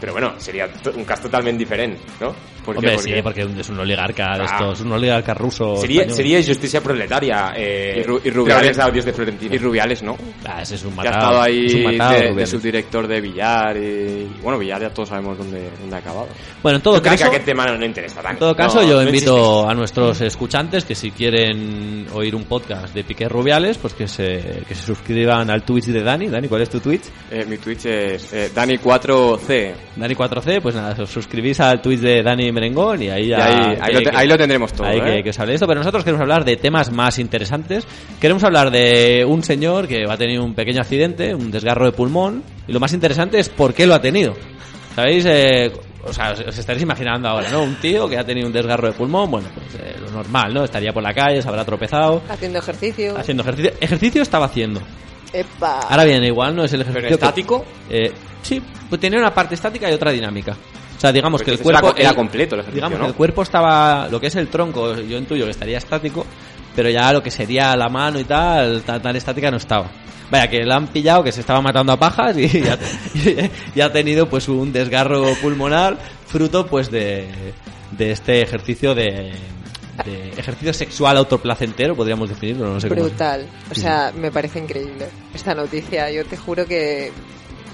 Speaker 2: Però bueno, seria to- un cas totalment diferent, no?
Speaker 3: ¿Por qué?
Speaker 1: Hombre,
Speaker 3: Porque-
Speaker 1: sí, porque es un oligarca de
Speaker 2: Ah.
Speaker 1: estos, es un oligarca ruso.
Speaker 2: Seria,
Speaker 1: español.
Speaker 2: seria justícia proletaria eh,
Speaker 3: I Ru- i Rubiales.
Speaker 2: treure els àudios de Florentino.
Speaker 3: Y Rubiales, ¿no?
Speaker 1: Ah, ese es un
Speaker 3: Que ha
Speaker 1: matado.
Speaker 3: estado ahí
Speaker 1: es un matado,
Speaker 3: de, de
Speaker 1: Rubiales.
Speaker 3: subdirector de Villar y, y bueno, Villar ya todos sabemos dónde, dónde ha acabado.
Speaker 1: Bueno, en
Speaker 2: Jo
Speaker 1: todo
Speaker 2: crec que
Speaker 1: caso,
Speaker 2: aquest tema no, no interessa tant.
Speaker 1: en todo caso
Speaker 2: No,
Speaker 1: yo
Speaker 2: no
Speaker 1: invito
Speaker 2: existeix.
Speaker 1: a nuestros escuchantes que si quieren oír un podcast de Piqué Rubiales, pues que se, que se suscriban al Twitch de Dani. Dani, ¿cuál es tu Twitch?
Speaker 3: Eh, mi Twitch es eh, Dani4C.
Speaker 1: Dani4C, pues nada, os suscribís al Twitch de Dani Merengón y ahí ya...
Speaker 3: Y ahí- ahí lo te- ahí lo tendremos todo,
Speaker 1: ahí
Speaker 3: ¿eh?
Speaker 1: que, que os hable de esto, pero nosotros queremos hablar de temas más interesantes. Queremos hablar de un señor que va a tener un pequeño accidente, un desgarro de pulmón, y lo más interesante es por qué lo ha tenido. ¿Sabéis? Eh, o sea, os, os estaréis imaginando ahora, ¿no? Un tío que ha tenido un desgarro de pulmón, bueno, pues eh, lo normal, ¿no? Estaría por la calle, se habrá tropezado,
Speaker 4: Haciendo ejercicio.
Speaker 1: haciendo ejercicio. Ejercicio estaba haciendo.
Speaker 4: Epa.
Speaker 1: Ahora bien, igual no es el ejercicio.
Speaker 3: ¿Pero estático?
Speaker 1: que- eh, sí, pues tenía una parte estática y otra dinámica. O sea, digamos que el
Speaker 3: Porque Pues era
Speaker 1: cuerpo.
Speaker 3: co- era
Speaker 1: el-
Speaker 3: completo el ejercicio,
Speaker 1: Digamos,
Speaker 3: ¿no?
Speaker 1: el cuerpo estaba. Lo que es el tronco, yo intuyo que estaría estático, pero ya lo que sería la mano y tal, tan, tan estática no estaba. Vaya, que la han pillado, que se estaba matando a pajas y ya, y ha tenido pues un desgarro pulmonar fruto pues de, de este ejercicio de, de ejercicio sexual autoplacentero, podríamos definirlo, no sé cómo-
Speaker 4: Brutal. O sea, me parece increíble esta noticia. Yo te juro que...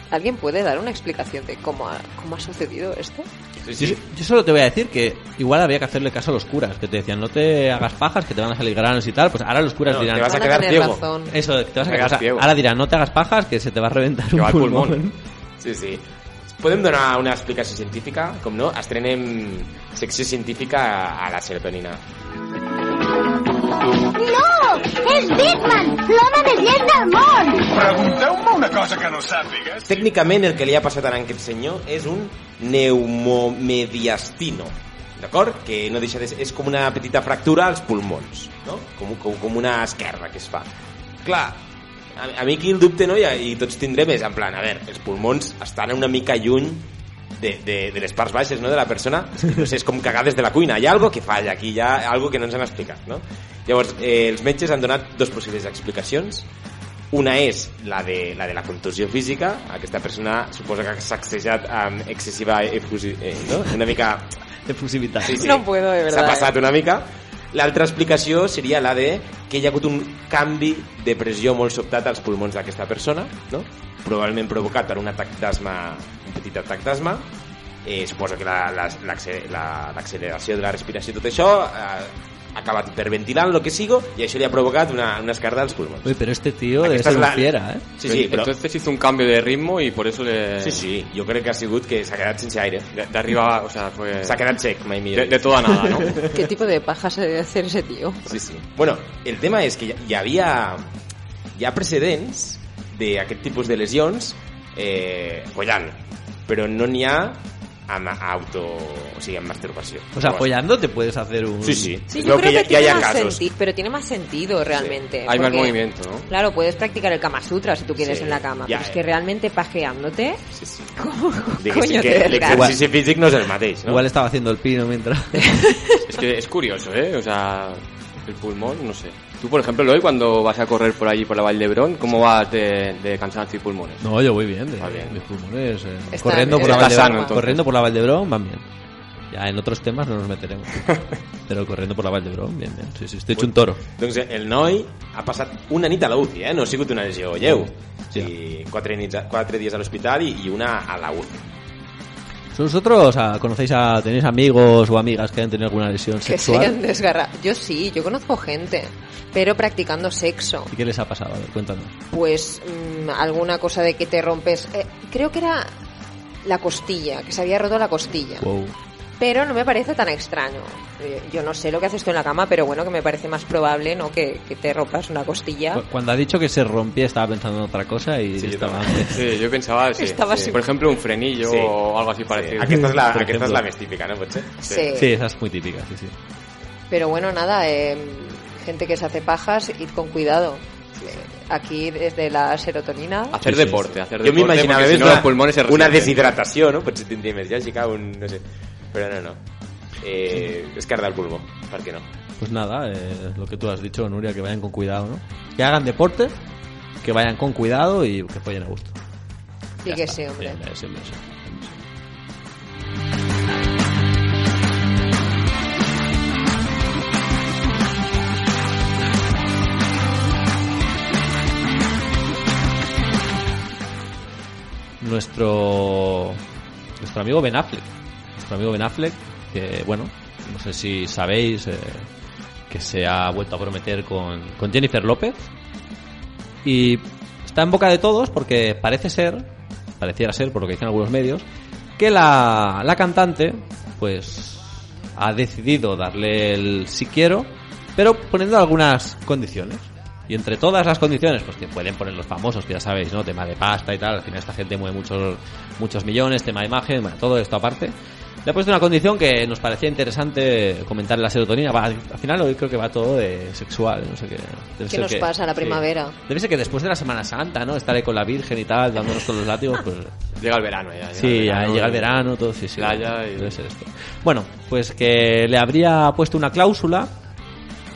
Speaker 4: ¿Alguien puede dar una explicación de cómo ha, cómo ha sucedido esto?
Speaker 2: Sí,
Speaker 1: Yo,
Speaker 2: sí.
Speaker 1: yo solo te voy a decir que igual había que hacerle caso a los curas, que te decían no te hagas fajas, que te van a salir granos y tal. Pues ahora los curas
Speaker 2: No,
Speaker 1: dirán "Ah,
Speaker 2: te vas a
Speaker 4: Van
Speaker 2: quedar
Speaker 4: tener
Speaker 2: ciego.
Speaker 4: razón.
Speaker 1: eso, te vas a quedar
Speaker 3: te quedas
Speaker 1: o sea,
Speaker 3: ciego.
Speaker 1: Ahora dirán no te hagas fajas, que se te va a reventar un
Speaker 3: va el
Speaker 1: pulmón.
Speaker 3: pulmón.
Speaker 2: Sí, sí. Podem donar una explicació científica? Com no, estrenem secció científica a la serotonina.
Speaker 5: No! És Batman, l'home més llest del món!
Speaker 6: Pregunteu-me una cosa que no sàpigues.
Speaker 2: Tècnicament el que li ha passat a aquest senyor és un neumomediastino, d'acord? Que no deixa de ser, és com una petita fractura als pulmons, no? Com, com, com una esquerda que es fa. Clar, a, a mi aquí el dubte, no? I, I tots tindrem és, en plan, a veure, els pulmons estan una mica lluny de, de, de les parts baixes no? de la persona És que, no sé, és com cagar des de la cuina hi ha algo que falla aquí, hi ha algo que no ens han explicat no? llavors eh, els metges han donat dos possibles explicacions una és la de la, de la contusió física. Aquesta persona suposa que ha sacsejat amb excessiva efusi... Eh, no? Una mica...
Speaker 1: Efusividad.
Speaker 4: No puedo, de
Speaker 2: S'ha
Speaker 4: verdad. eh.
Speaker 2: passat una mica. L'altra explicació seria la de que hi ha hagut un canvi de pressió molt sobtat als pulmons d'aquesta persona, no? probablement provocat per un atac d'asma, un petit atac d'asma, eh, suposo que la- la- l'acce- la- l'acceleració de la respiració i tot això ha, ha acabat hiperventilant, el que sigo, i això li ha provocat una, una escarda als pulmons.
Speaker 1: Uy, pero este tío debe
Speaker 2: Aquesta
Speaker 1: ser
Speaker 2: és
Speaker 1: un
Speaker 2: la-
Speaker 1: fiera, ¿eh?
Speaker 2: Sí, sí, però...
Speaker 3: Entonces hizo un cambio de ritmo y por eso le...
Speaker 2: Sí, sí, jo crec que ha sigut que s'ha quedat sense aire.
Speaker 3: De, de arriba, o sea, fue...
Speaker 2: S'ha quedat sec, mai millor.
Speaker 3: Eh. De, de todo a nada, ¿no?
Speaker 4: ¿Qué tipo de paja se debe hacer ese tío?
Speaker 2: Sí, sí. Bueno, el tema és que hi- hi havia hi ha precedents d'aquest tipus de lesions eh, follant, però no n'hi ha amb auto... o sigui, amb masturbació.
Speaker 1: O sea, apoyando te puedes hacer un...
Speaker 2: Sí, sí.
Speaker 4: Sí,
Speaker 2: Es
Speaker 4: yo
Speaker 2: veu
Speaker 4: creo que,
Speaker 2: ja- ja hi
Speaker 4: tiene
Speaker 2: ha
Speaker 4: más
Speaker 2: casos.
Speaker 4: sentido, pero tiene más sentido realmente.
Speaker 3: Hay más
Speaker 4: porque,
Speaker 3: movimiento, ¿no?
Speaker 4: Claro, puedes practicar el Kama Sutra si tú quieres
Speaker 2: Sí,
Speaker 4: en la cama,
Speaker 2: ya,
Speaker 4: pero es
Speaker 2: eh.
Speaker 4: que realmente pajeándote,
Speaker 2: Sí, sí.
Speaker 4: ¿cómo
Speaker 2: Diguéssim
Speaker 4: coño
Speaker 2: que
Speaker 4: te desgastas?
Speaker 2: l'exercici físic no és el mateix, no?
Speaker 1: Igual estaba haciendo el pino mientras...
Speaker 3: Es que es curioso, ¿eh? O sea, el pulmón, no sé. Tú, por ejemplo, hoy cuando vas a correr por allí, por la Vall de Brón, ¿cómo vas de, de cansancio y pulmones?
Speaker 1: No, yo voy bien. De,
Speaker 3: Ah, bien.
Speaker 1: Mis pulmones. eh,
Speaker 4: Están-
Speaker 1: corriendo, por la
Speaker 3: está
Speaker 1: Valdebrón,
Speaker 3: sano, entonces.
Speaker 1: corriendo por la Valdebrón van bien. Ya en otros temas no nos meteremos. Pero corriendo por la Valdebrón, bien, bien. Sí, sí, estoy hecho un toro.
Speaker 2: Doncs el noi ha passat una nit a la UCI, eh? No ha sigut una lesió lleu. Sí. I quatre, nits, a- quatre dies a l'hospital i, i una a la UCI.
Speaker 1: ¿Vosotros ah, conocéis a. tenéis amigos o amigas que hayan tenido alguna lesión
Speaker 4: Que se hayan
Speaker 1: sexual?
Speaker 4: desgarrado. Yo sí, yo conozco gente, pero practicando sexo.
Speaker 1: ¿Y qué les ha pasado? A ver, cuéntanos.
Speaker 4: pues mm, alguna cosa de que te rompes. eh, creo que era la costilla, que se había roto la costilla.
Speaker 1: Wow.
Speaker 4: Pero no me parece tan extraño. Eh, Yo no sé lo que haces tú en la cama, pero bueno, que me parece más probable, ¿no? Que, que te rompas una costilla.
Speaker 1: Cu- Cuando ha dicho que se rompía, estaba pensando en otra cosa y
Speaker 2: Sí, yo
Speaker 1: estaba
Speaker 2: también.
Speaker 1: antes.
Speaker 3: Sí, yo pensaba, sí,
Speaker 4: Estaba
Speaker 3: sí.
Speaker 4: así.
Speaker 3: Por ejemplo, un frenillo
Speaker 2: Sí.
Speaker 3: o algo así
Speaker 2: Sí.
Speaker 3: parecido.
Speaker 2: Aquesta, és la,
Speaker 1: Per
Speaker 2: aquesta és
Speaker 1: exemple.
Speaker 2: la més típica, no? Potser?
Speaker 4: Sí.
Speaker 1: Sí, esa es muy típica, sí, sí.
Speaker 4: Pero bueno, nada, eh, gente que se hace pajas, id con cuidado. Eh, Aquí desde la serotonina.
Speaker 3: Hacer
Speaker 1: Sí, sí,
Speaker 3: deporte, hacer
Speaker 2: Jo
Speaker 3: deporte.
Speaker 2: m'imaginava
Speaker 3: porque si
Speaker 2: més
Speaker 3: no,
Speaker 2: una,
Speaker 3: los pulmones se
Speaker 2: una
Speaker 3: resienten.
Speaker 2: deshidratació, no? Potser tindria més lògica, un... no sé. Però no, no. Eh, escarda el pulmó, per què no?
Speaker 1: Pues nada, eh, lo que tú has dicho, Nuria, que vayan con cuidado, ¿no? Que hagan deporte, que vayan con cuidado y que follen a gusto.
Speaker 4: y que sí, hombre.
Speaker 1: Bien, bien, siempre, siempre. Nuestro nuestro amigo Ben Affleck, nuestro amigo Ben Affleck, que bueno, no sé si sabéis eh, que se ha vuelto a prometer con, con Jennifer López y está en boca de todos porque parece ser, pareciera ser, por lo que dicen algunos medios, que la, la cantante, pues, ha decidido darle el si quiero, pero poniendo algunas condiciones. Y entre todas las condiciones, pues que pueden poner los famosos, que ya sabéis, ¿no? Tema de pasta y tal, al final esta gente mueve muchos, muchos millones, tema de imagen, bueno, todo esto aparte. Le ha puesto una condición que nos parecía interesante comentar en la serotonina. Va, al final hoy creo que va todo de sexual, no sé qué. Debe
Speaker 4: ¿Qué
Speaker 1: ser
Speaker 4: nos
Speaker 1: que-
Speaker 4: pasa la
Speaker 1: sí.
Speaker 4: primavera?
Speaker 1: Debe ser que después de la Semana Santa, ¿no? Estaré con la Virgen y tal, dándonos con los látigos, pues...
Speaker 3: Llega el verano ya. llega
Speaker 1: Sí,
Speaker 3: el
Speaker 1: ya
Speaker 3: verano,
Speaker 1: llega el
Speaker 3: y-
Speaker 1: verano, todo, sí, sí.
Speaker 3: Playa y-
Speaker 1: debe ser esto. Bueno, pues que le habría puesto una cláusula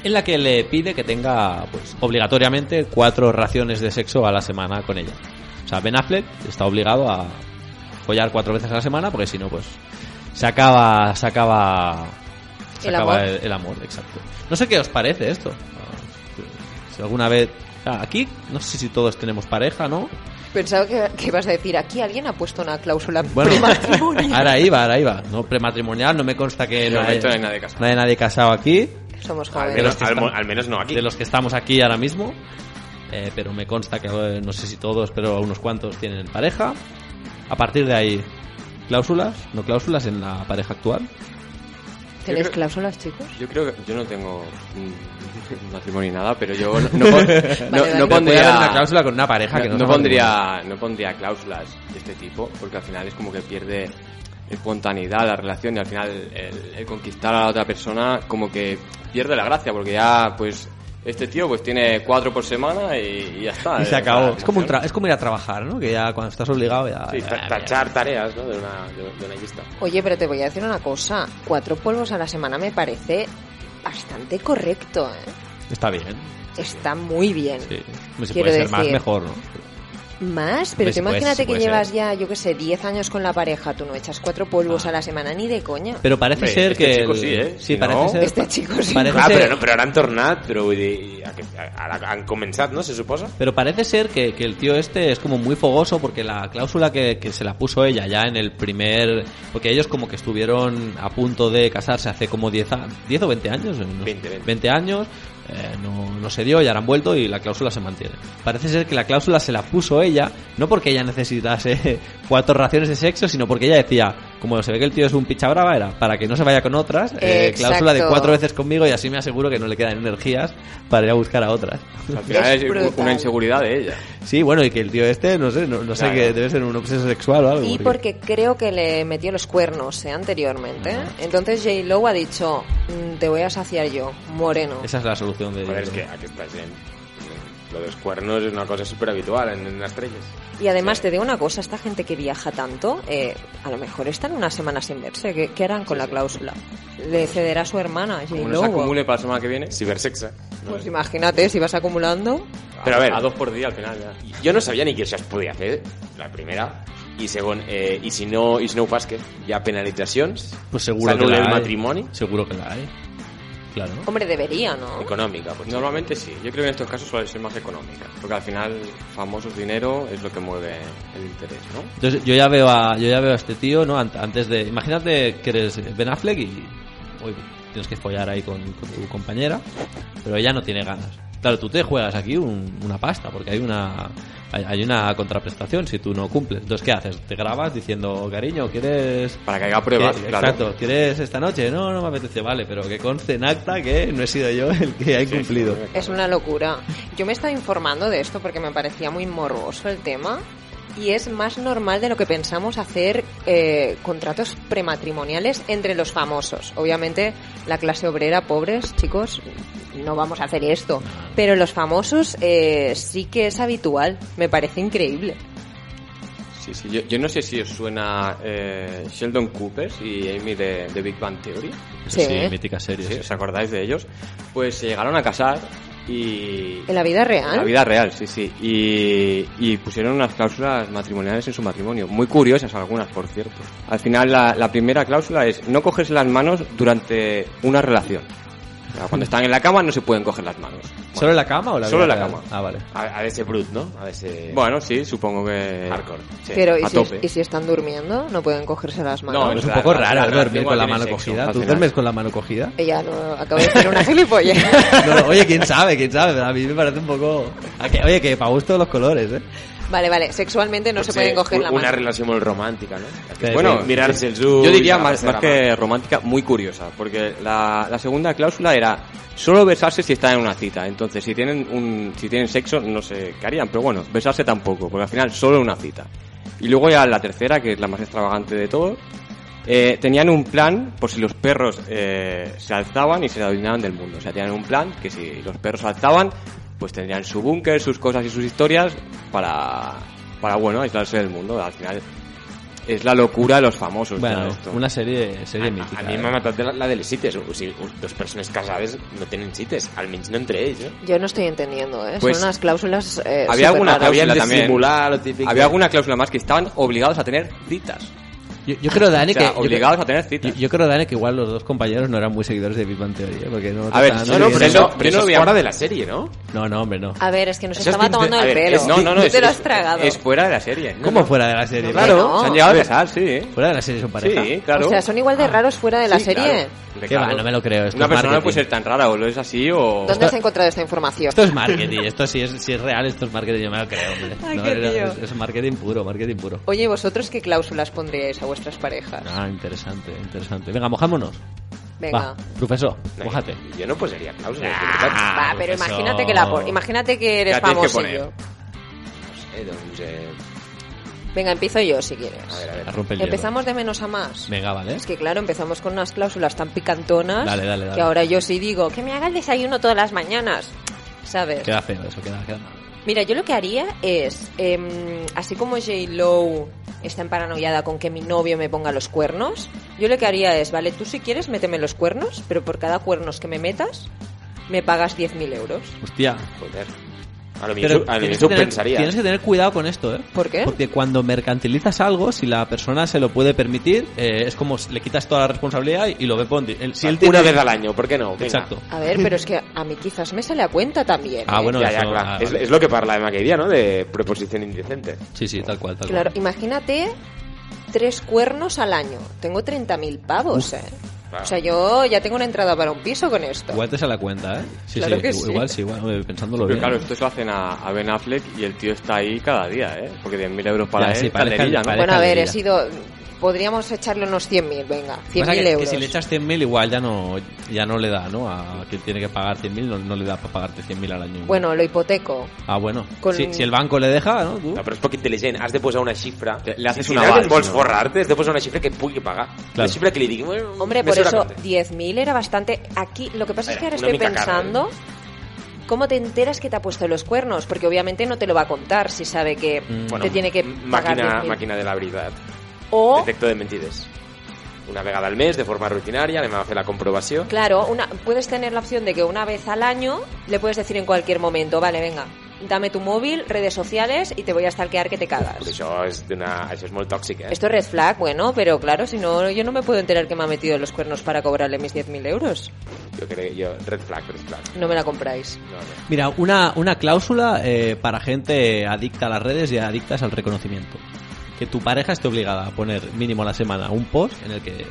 Speaker 1: en la que le pide que tenga, pues, obligatoriamente cuatro raciones de sexo a la semana con ella. O sea, Ben Affleck está obligado a follar cuatro veces a la semana porque si no, pues, se acaba, se acaba, se
Speaker 4: El
Speaker 1: acaba
Speaker 4: amor.
Speaker 1: El, el amor, exacto. No sé qué os parece esto. Si alguna vez, ah, aquí, no sé si todos tenemos pareja, ¿no?
Speaker 4: Pensaba que, que ibas a decir, aquí alguien ha puesto una cláusula
Speaker 1: Bueno,
Speaker 4: prematrimonial.
Speaker 1: ahora iba, ahora iba. No prematrimonial, no me consta que
Speaker 3: De
Speaker 1: no
Speaker 3: momento
Speaker 1: haya-
Speaker 3: no hay nadie casado.
Speaker 1: no haya nadie casado aquí,
Speaker 4: Somos
Speaker 2: Al
Speaker 1: los
Speaker 4: jóvenes.
Speaker 2: menos,
Speaker 1: que
Speaker 2: al,
Speaker 1: estan-
Speaker 2: mo- almenys no aquí.
Speaker 1: de los que estamos aquí ahora mismo. Eh, pero me consta que eh, no sé si todos, pero unos cuantos tienen pareja. A partir de ahí, cláusulas, no cláusulas en la pareja actual.
Speaker 4: ¿Tenéis
Speaker 3: creo-
Speaker 4: cláusulas, chicos?
Speaker 3: Yo creo que yo no tengo mm, matrimonio ni nada, pero yo no, no, pon- no-
Speaker 4: vale.
Speaker 3: no
Speaker 1: Pero puede haber
Speaker 3: pondría
Speaker 1: una cláusula con una pareja que
Speaker 3: no,
Speaker 1: no,
Speaker 3: no
Speaker 1: sea
Speaker 3: pondría no pondría cláusulas de este tipo porque al final es como que pierde espontaneidad la relación y al final el, el conquistar a la otra persona como que pierde la gracia porque ya pues este tío pues tiene cuatro por semana y, y ya está
Speaker 1: Y se
Speaker 3: eh,
Speaker 1: acabó.
Speaker 3: la
Speaker 1: Es como, un tra-
Speaker 3: relación.
Speaker 1: es como ir a trabajar, ¿no? Que ya cuando estás obligado ya...
Speaker 2: Sí,
Speaker 3: Ah,
Speaker 1: ya-
Speaker 2: ta- tachar tareas, no?, d'una de- d'una llista.
Speaker 4: Oye, pero te voy a decir una cosa. Cuatro polvos a la semana me parece bastante correcto, ¿eh?
Speaker 1: Está bien.
Speaker 4: Está muy bien.
Speaker 1: Sí. Si
Speaker 4: Quiero
Speaker 1: puede ser más,
Speaker 4: decir-
Speaker 1: mejor, ¿no?
Speaker 4: Más, pero
Speaker 1: Pues,
Speaker 4: tú imagínate
Speaker 1: pues,
Speaker 4: que
Speaker 1: puede
Speaker 4: llevas
Speaker 1: ser.
Speaker 4: ya, yo qué sé, 10 años con la pareja, tú no echas cuatro polvos
Speaker 1: Ah.
Speaker 4: a la semana ni de coña.
Speaker 1: Però parece
Speaker 2: Hombre,
Speaker 1: ser
Speaker 2: este
Speaker 1: que...
Speaker 2: chico
Speaker 1: el-
Speaker 2: sí, eh? Si
Speaker 1: parece
Speaker 2: no-
Speaker 1: ser...
Speaker 4: Este chico sí.
Speaker 1: Parece
Speaker 2: Clar,
Speaker 1: ser...
Speaker 2: però, Ah, no, però ara han tornat, però vull dir, aquest- ara han començat, no? Se suposa?
Speaker 1: Pero parece ser que, que el tío este es como muy fogoso porque la cláusula que, que se la puso ella ya en el primer... Porque ellos como que estuvieron a punto de casarse hace como 10, a- 10 o 20 años. eh, no sé,
Speaker 2: 20, 20.
Speaker 1: 20 años, eh, no, no se dio y ahora han vuelto y la cláusula se mantiene. Parece ser que la cláusula se la puso ella, no porque ella necesitase cuatro raciones de sexo, sino porque ella decía, como se ve que el tío es un picha brava, era para que no se vaya con otras, eh,
Speaker 4: Exacto.
Speaker 1: cláusula de cuatro veces conmigo y así me aseguro que no le quedan energías para ir a buscar a otras.
Speaker 3: Al final
Speaker 4: Es
Speaker 3: es, u-
Speaker 4: brutal.
Speaker 3: una inseguridad de ella.
Speaker 1: Sí, bueno, y que el tío este, no sé, no, no sé,
Speaker 3: Claro.
Speaker 1: que debe ser un obseso sexual o algo.
Speaker 4: Y porque creo que le metió los cuernos eh, anteriormente.
Speaker 1: Ah.
Speaker 4: Entonces J. Lo ha dicho, "Mm, te voy a saciar yo, moreno.
Speaker 1: Esa es la solución de...
Speaker 2: Joder, és que aquesta gent... Lo dels cuernos és una cosa superhabitual en, en estrelles.
Speaker 4: Y además te digo una cosa, esta gente que viaja tanto, eh, a lo mejor están una semana sin verse. ¿Qué, qué harán con la cláusula? Le cederá a su hermana, J.
Speaker 3: Como no
Speaker 4: Lo.
Speaker 3: se acumule para la semana que viene.
Speaker 2: Cibersexe.
Speaker 4: Pues imagínate, si vas acumulando.
Speaker 2: Però a veure...
Speaker 3: dos por día al final ya.
Speaker 2: Jo no sabia ni que això es podia fer, la primera. I segon, eh, i, si no, i si no ho fas, què? Hi ha penalitzacions?
Speaker 1: Pues seguro que
Speaker 2: S'anul·la
Speaker 1: la
Speaker 2: el
Speaker 1: hay.
Speaker 2: matrimoni?
Speaker 1: Seguro que la hay. Claro.
Speaker 4: Hombre, debería, ¿no?
Speaker 2: Econòmica, potser.
Speaker 3: Normalmente sí, yo creo que en estos casos suele ser más económica, porque al final famosos dinero es lo que mueve el interés, ¿no?
Speaker 1: Entonces yo ya veo a, yo ya veo a este tío, ¿no? Ant- Antes de... Imagínate que eres Ben Affleck y... Uy, tienes que follar ahí con, con tu compañera, pero ella no tiene ganas. Claro, tú te juegas aquí un- una pasta, porque hay una... Hay hay una contraprestación si tú no cumples. Entonces, ¿qué haces? Te grabas diciendo, cariño, ¿quieres
Speaker 3: Para que haga pruebas,
Speaker 1: Que-
Speaker 3: claro.
Speaker 1: Exacto, ¿quieres esta noche? No, no me apetece, vale, pero que conste en acta que no he sido yo el que ha incumplido.
Speaker 4: Es una locura. Yo me estaba informando de esto porque me parecía muy morboso el tema y es más normal de lo que pensamos hacer eh, contratos prematrimoniales entre los famosos. Obviamente la clase obrera, pobres chicos, no vamos a hacer esto, pero los famosos eh, sí que es habitual. Me parece increíble.
Speaker 3: Sí, sí, yo, yo no sé si os suena eh, Sheldon Cooper y Amy de, de Big Bang Theory,
Speaker 4: Sí, ¿eh?
Speaker 1: mítica serie.
Speaker 3: si
Speaker 1: sí.
Speaker 3: os acordáis de ellos, pues se llegaron a casar y...
Speaker 4: En la vida real.
Speaker 3: En La vida real, sí, sí. Y, y pusieron unas cláusulas matrimoniales en su matrimonio. Muy curiosas algunas, por cierto. Al final, la, la primera cláusula es no coges las manos durante una relación. O sea, cuando están en la cama no se pueden coger las manos.
Speaker 1: ¿Solo en la cama o la
Speaker 3: Solo
Speaker 1: vida
Speaker 3: en la
Speaker 1: real?
Speaker 3: cama.
Speaker 1: Ah, vale.
Speaker 2: Ha, ha de ser brut, no? Ha de ser...
Speaker 3: Bueno, sí, supongo que...
Speaker 2: Hardcore. Sí.
Speaker 4: pero ¿y
Speaker 3: a
Speaker 4: si,
Speaker 3: tope.
Speaker 4: y si están durmiendo? ¿No pueden cogerse las manos?
Speaker 3: No,
Speaker 1: Pero es un
Speaker 3: la-
Speaker 1: poco
Speaker 3: la-
Speaker 1: raro
Speaker 3: la
Speaker 1: ¿no? dormir
Speaker 3: relación
Speaker 1: con la
Speaker 3: tiene
Speaker 1: mano
Speaker 3: sexo,
Speaker 1: cogida.
Speaker 3: al
Speaker 1: ¿Tú
Speaker 3: final.
Speaker 1: duermes con la mano cogida?
Speaker 4: Ella no acaba de hacer una gilipollez.
Speaker 1: No, oye, quién sabe, quién sabe. pero A mí me parece un poco. a que- Oye, que para gusto los colores, ¿eh?
Speaker 4: Vale, vale, sexualmente
Speaker 3: Pues
Speaker 4: no se pueden coger la
Speaker 2: una
Speaker 4: mano.
Speaker 2: relació molt romàntica, no?
Speaker 1: Sí,
Speaker 3: Bueno,
Speaker 2: mirar-se els ulls...
Speaker 3: Yo diría más,
Speaker 2: agafar-se
Speaker 3: más
Speaker 2: la
Speaker 3: que romántica, muy curiosa, porque la, la segunda cláusula era solo besarse si están en una cita. Entonces, si tienen un, si tienen sexo, no sé qué harían, pero bueno, besarse tampoco, porque al final solo una cita. Y luego ya la tercera, que es la más extravagante de todo, eh, tenían un plan por si los perros eh, se alzaban y se adueñaban del mundo. O sea, tenían un plan que si los perros saltaban, pues tendrían su búnker, sus cosas y sus historias para, para bueno, aislarse del mundo. Al final es la locura de los famosos.
Speaker 1: Bueno,
Speaker 3: claro, Pues esto.
Speaker 1: una serie, serie mítica. ¿eh?
Speaker 2: A, a mi m'ha matat la, la de les cites. O sigui, dos persones casades no tenen cites, almenys no entre ells, no?
Speaker 4: Yo no estoy entendiendo, ¿eh?
Speaker 3: Pues,
Speaker 4: Son unas cláusulas. eh,
Speaker 3: había alguna
Speaker 4: superraras.
Speaker 3: cláusula
Speaker 2: Havien de
Speaker 3: también.
Speaker 2: simular lo típic...
Speaker 3: Había alguna cláusula más que estaban obligados a tener citas.
Speaker 1: Yo, yo creo, Dani,
Speaker 3: O sea,
Speaker 1: que. yo-
Speaker 3: obligados a tener
Speaker 1: Yo,
Speaker 3: citas.
Speaker 1: yo creo, Dani, que igual los dos compañeros no eran muy seguidores de Big Bang Theory, ¿eh? Porque no.
Speaker 3: A ver,
Speaker 1: no,
Speaker 3: sí, no,
Speaker 2: No, però
Speaker 3: Yo
Speaker 2: això, però
Speaker 3: no- yo
Speaker 2: això
Speaker 3: no
Speaker 2: és
Speaker 3: había-
Speaker 2: fora de la sèrie, no?
Speaker 1: no, no, hombre, no.
Speaker 4: A ver, es que nos
Speaker 2: Eso es
Speaker 4: estaba
Speaker 2: distinto-
Speaker 4: tomando
Speaker 2: a
Speaker 4: el
Speaker 2: ver,
Speaker 4: pelo.
Speaker 2: es-
Speaker 3: no, no, no.
Speaker 4: Tú
Speaker 3: es-
Speaker 4: te lo
Speaker 3: es-
Speaker 4: has tragado.
Speaker 3: Es fuera de la serie. No,
Speaker 1: ¿Cómo
Speaker 3: no.
Speaker 1: fuera de la serie?
Speaker 4: Claro.
Speaker 3: Se han llegado a casar, sí, ¿eh?
Speaker 1: Fuera de la serie son pareja.
Speaker 3: Sí, claro.
Speaker 4: O sea, son igual de raros fuera de la
Speaker 3: Sí,
Speaker 4: serie.
Speaker 3: claro.
Speaker 1: Qué
Speaker 3: Claro.
Speaker 1: va, no me lo creo, esto
Speaker 3: Una
Speaker 1: es
Speaker 3: persona no puede
Speaker 1: marketing.
Speaker 3: ser tan rara, o lo es así, o...
Speaker 4: ¿Dónde has encontrado esta información?
Speaker 1: Esto es marketing, esto sí es, si es real, esto es marketing, yo me lo creo. hombre.
Speaker 4: Ay,
Speaker 1: No,
Speaker 4: qué
Speaker 1: era-
Speaker 4: tío.
Speaker 1: es, es marketing puro, marketing puro.
Speaker 4: Oye, ¿vosotros qué cláusulas pondríais a vuestras parejas?
Speaker 1: Ah, interesante, interesante. Venga, mojámonos.
Speaker 4: Venga.
Speaker 1: Va, profesor,
Speaker 2: No,
Speaker 1: mojate.
Speaker 2: Jo, jo no posaria clàusules, de veritat.
Speaker 4: Va,
Speaker 1: Ah,
Speaker 4: pero
Speaker 1: profesor.
Speaker 4: imagínate que la por- imagínate que eres
Speaker 3: La tienes que
Speaker 4: famosillo.
Speaker 2: No sé, doncs... Eh,
Speaker 4: Venga, empiezo yo si
Speaker 2: a
Speaker 4: quieres.
Speaker 2: veure, a
Speaker 1: A
Speaker 2: veure.
Speaker 1: romper el hielo.
Speaker 4: Empezamos de menos a más.
Speaker 1: Venga, vale.
Speaker 4: Es que claro, empezamos con unas cláusulas tan picantonas
Speaker 1: Dale, dale, dale.
Speaker 4: que ahora yo sí digo que me haga el desayuno todas las mañanas, ¿sabes?
Speaker 1: Queda feo eso, queda, queda mal.
Speaker 4: Mira, yo lo que haría es, eh, así como J. Lowe está paranoiada con que mi novio me ponga los cuernos, yo lo que haría es, vale, tú si quieres méteme los cuernos, pero por cada cuernos que me metas, me pagas 10.000 euros.
Speaker 1: Hostia,
Speaker 2: Joder. A lo
Speaker 1: Pero
Speaker 2: mismo, a lo
Speaker 1: tienes,
Speaker 2: mismo
Speaker 1: que tener,
Speaker 2: pensaría.
Speaker 1: tienes que tener cuidado con esto, ¿eh?
Speaker 4: ¿Por qué?
Speaker 1: Porque cuando mercantilizas algo, si la persona se lo puede permitir, eh, es como si le quitas toda la responsabilidad y, y lo ve Ponti. Él- si él tiene-
Speaker 2: Ah, Una vez al año, ¿por qué no? Venga.
Speaker 1: Exacto.
Speaker 4: A ver, pero es que a mí quizás me sale a cuenta también.
Speaker 1: Ah,
Speaker 4: ¿eh?
Speaker 1: bueno,
Speaker 2: ya, ya,
Speaker 1: eso-
Speaker 2: clar.
Speaker 1: ah,
Speaker 2: és,
Speaker 1: vale.
Speaker 2: és lo que parlàvem aquell dia, no?, de preposición indecente.
Speaker 1: Sí, sí, tal cual, tal cual.
Speaker 4: Claro, imagínate tres cuernos al año. Tengo 30.000 pavos, ¿eh?
Speaker 2: claro.
Speaker 4: O sea, yo ya tengo una entrada para un piso con esto.
Speaker 1: Igual te sale la cuenta, ¿eh? Sí,
Speaker 4: Claro
Speaker 1: sí,
Speaker 4: que
Speaker 1: igual sí, igual, pensándolo
Speaker 3: Pero
Speaker 1: bien.
Speaker 3: claro, esto se lo hacen a, a Ben Affleck y el tío está ahí cada día, ¿eh? Porque 10.000 euros para
Speaker 1: Ya,
Speaker 3: él,
Speaker 1: sí, parece-
Speaker 3: calderilla,
Speaker 1: parece-
Speaker 3: ¿no?
Speaker 4: bueno, a ver, he
Speaker 1: Alejandría.
Speaker 4: sido... Podríamos echarle unos 100.000, venga,
Speaker 1: Pasa
Speaker 4: 100.000
Speaker 1: que,
Speaker 4: euros.
Speaker 1: que si le echas 100.000 igual ya no ya no le da, ¿no? A quien tiene que pagar 100.000 no, no le da para pagarte 100.000 al año.
Speaker 4: Bueno, lo hipoteco.
Speaker 1: Ah, bueno.
Speaker 4: con-
Speaker 1: Si, si el banco le deja, ¿no? Tú.
Speaker 2: No, però és poc intel·ligent, has de posar una xifra.
Speaker 3: Le- le haces
Speaker 2: si,
Speaker 3: un
Speaker 2: si
Speaker 3: aval,
Speaker 2: realment vols
Speaker 3: no?
Speaker 2: forrar-te, has de posar una xifra que pugui pagar.
Speaker 1: Claro.
Speaker 2: Una xifra que li digui... "Bueno,
Speaker 4: Hombre,
Speaker 2: me
Speaker 4: por
Speaker 2: sobra este".
Speaker 4: eso
Speaker 2: compte".
Speaker 4: 10.000 era bastante. Aquí, lo que pasa es
Speaker 2: Era
Speaker 4: que ahora
Speaker 2: una
Speaker 4: estoy
Speaker 2: mica ¿eh? cara,
Speaker 4: pensando cómo te enteras que te ha puesto los cuernos, porque obviamente no te lo va a contar si sabe que
Speaker 1: Mm.
Speaker 4: te
Speaker 1: Bueno,
Speaker 4: tiene que pagar
Speaker 2: Màquina,
Speaker 4: 10.000.
Speaker 2: màquina de la veritat.
Speaker 4: O,
Speaker 2: Detector de mentides. Una vegada al mes, de forma rutinària, anem a fer la comprovació.
Speaker 4: claro, una, puedes tener la opción de que una vez al año le puedes decir en cualquier momento, vale, venga, dame tu móvil, redes sociales y te voy a stalkear que te cagas.
Speaker 2: Pues això, és d'una... això és molt tòxic, eh?
Speaker 4: Esto es red flag, bueno, pero claro, si no, yo no me puedo enterar que me ha metido los cuernos para cobrarle mis 10.000 euros.
Speaker 2: Jo crec, jo, red flag, red flag.
Speaker 4: No me la compráis.
Speaker 2: No, no.
Speaker 1: Mira, una, una cláusula eh, para gente adicta a las redes y adictas al reconocimiento. Que tu pareja esté obligada a poner mínimo a la semana un post en el que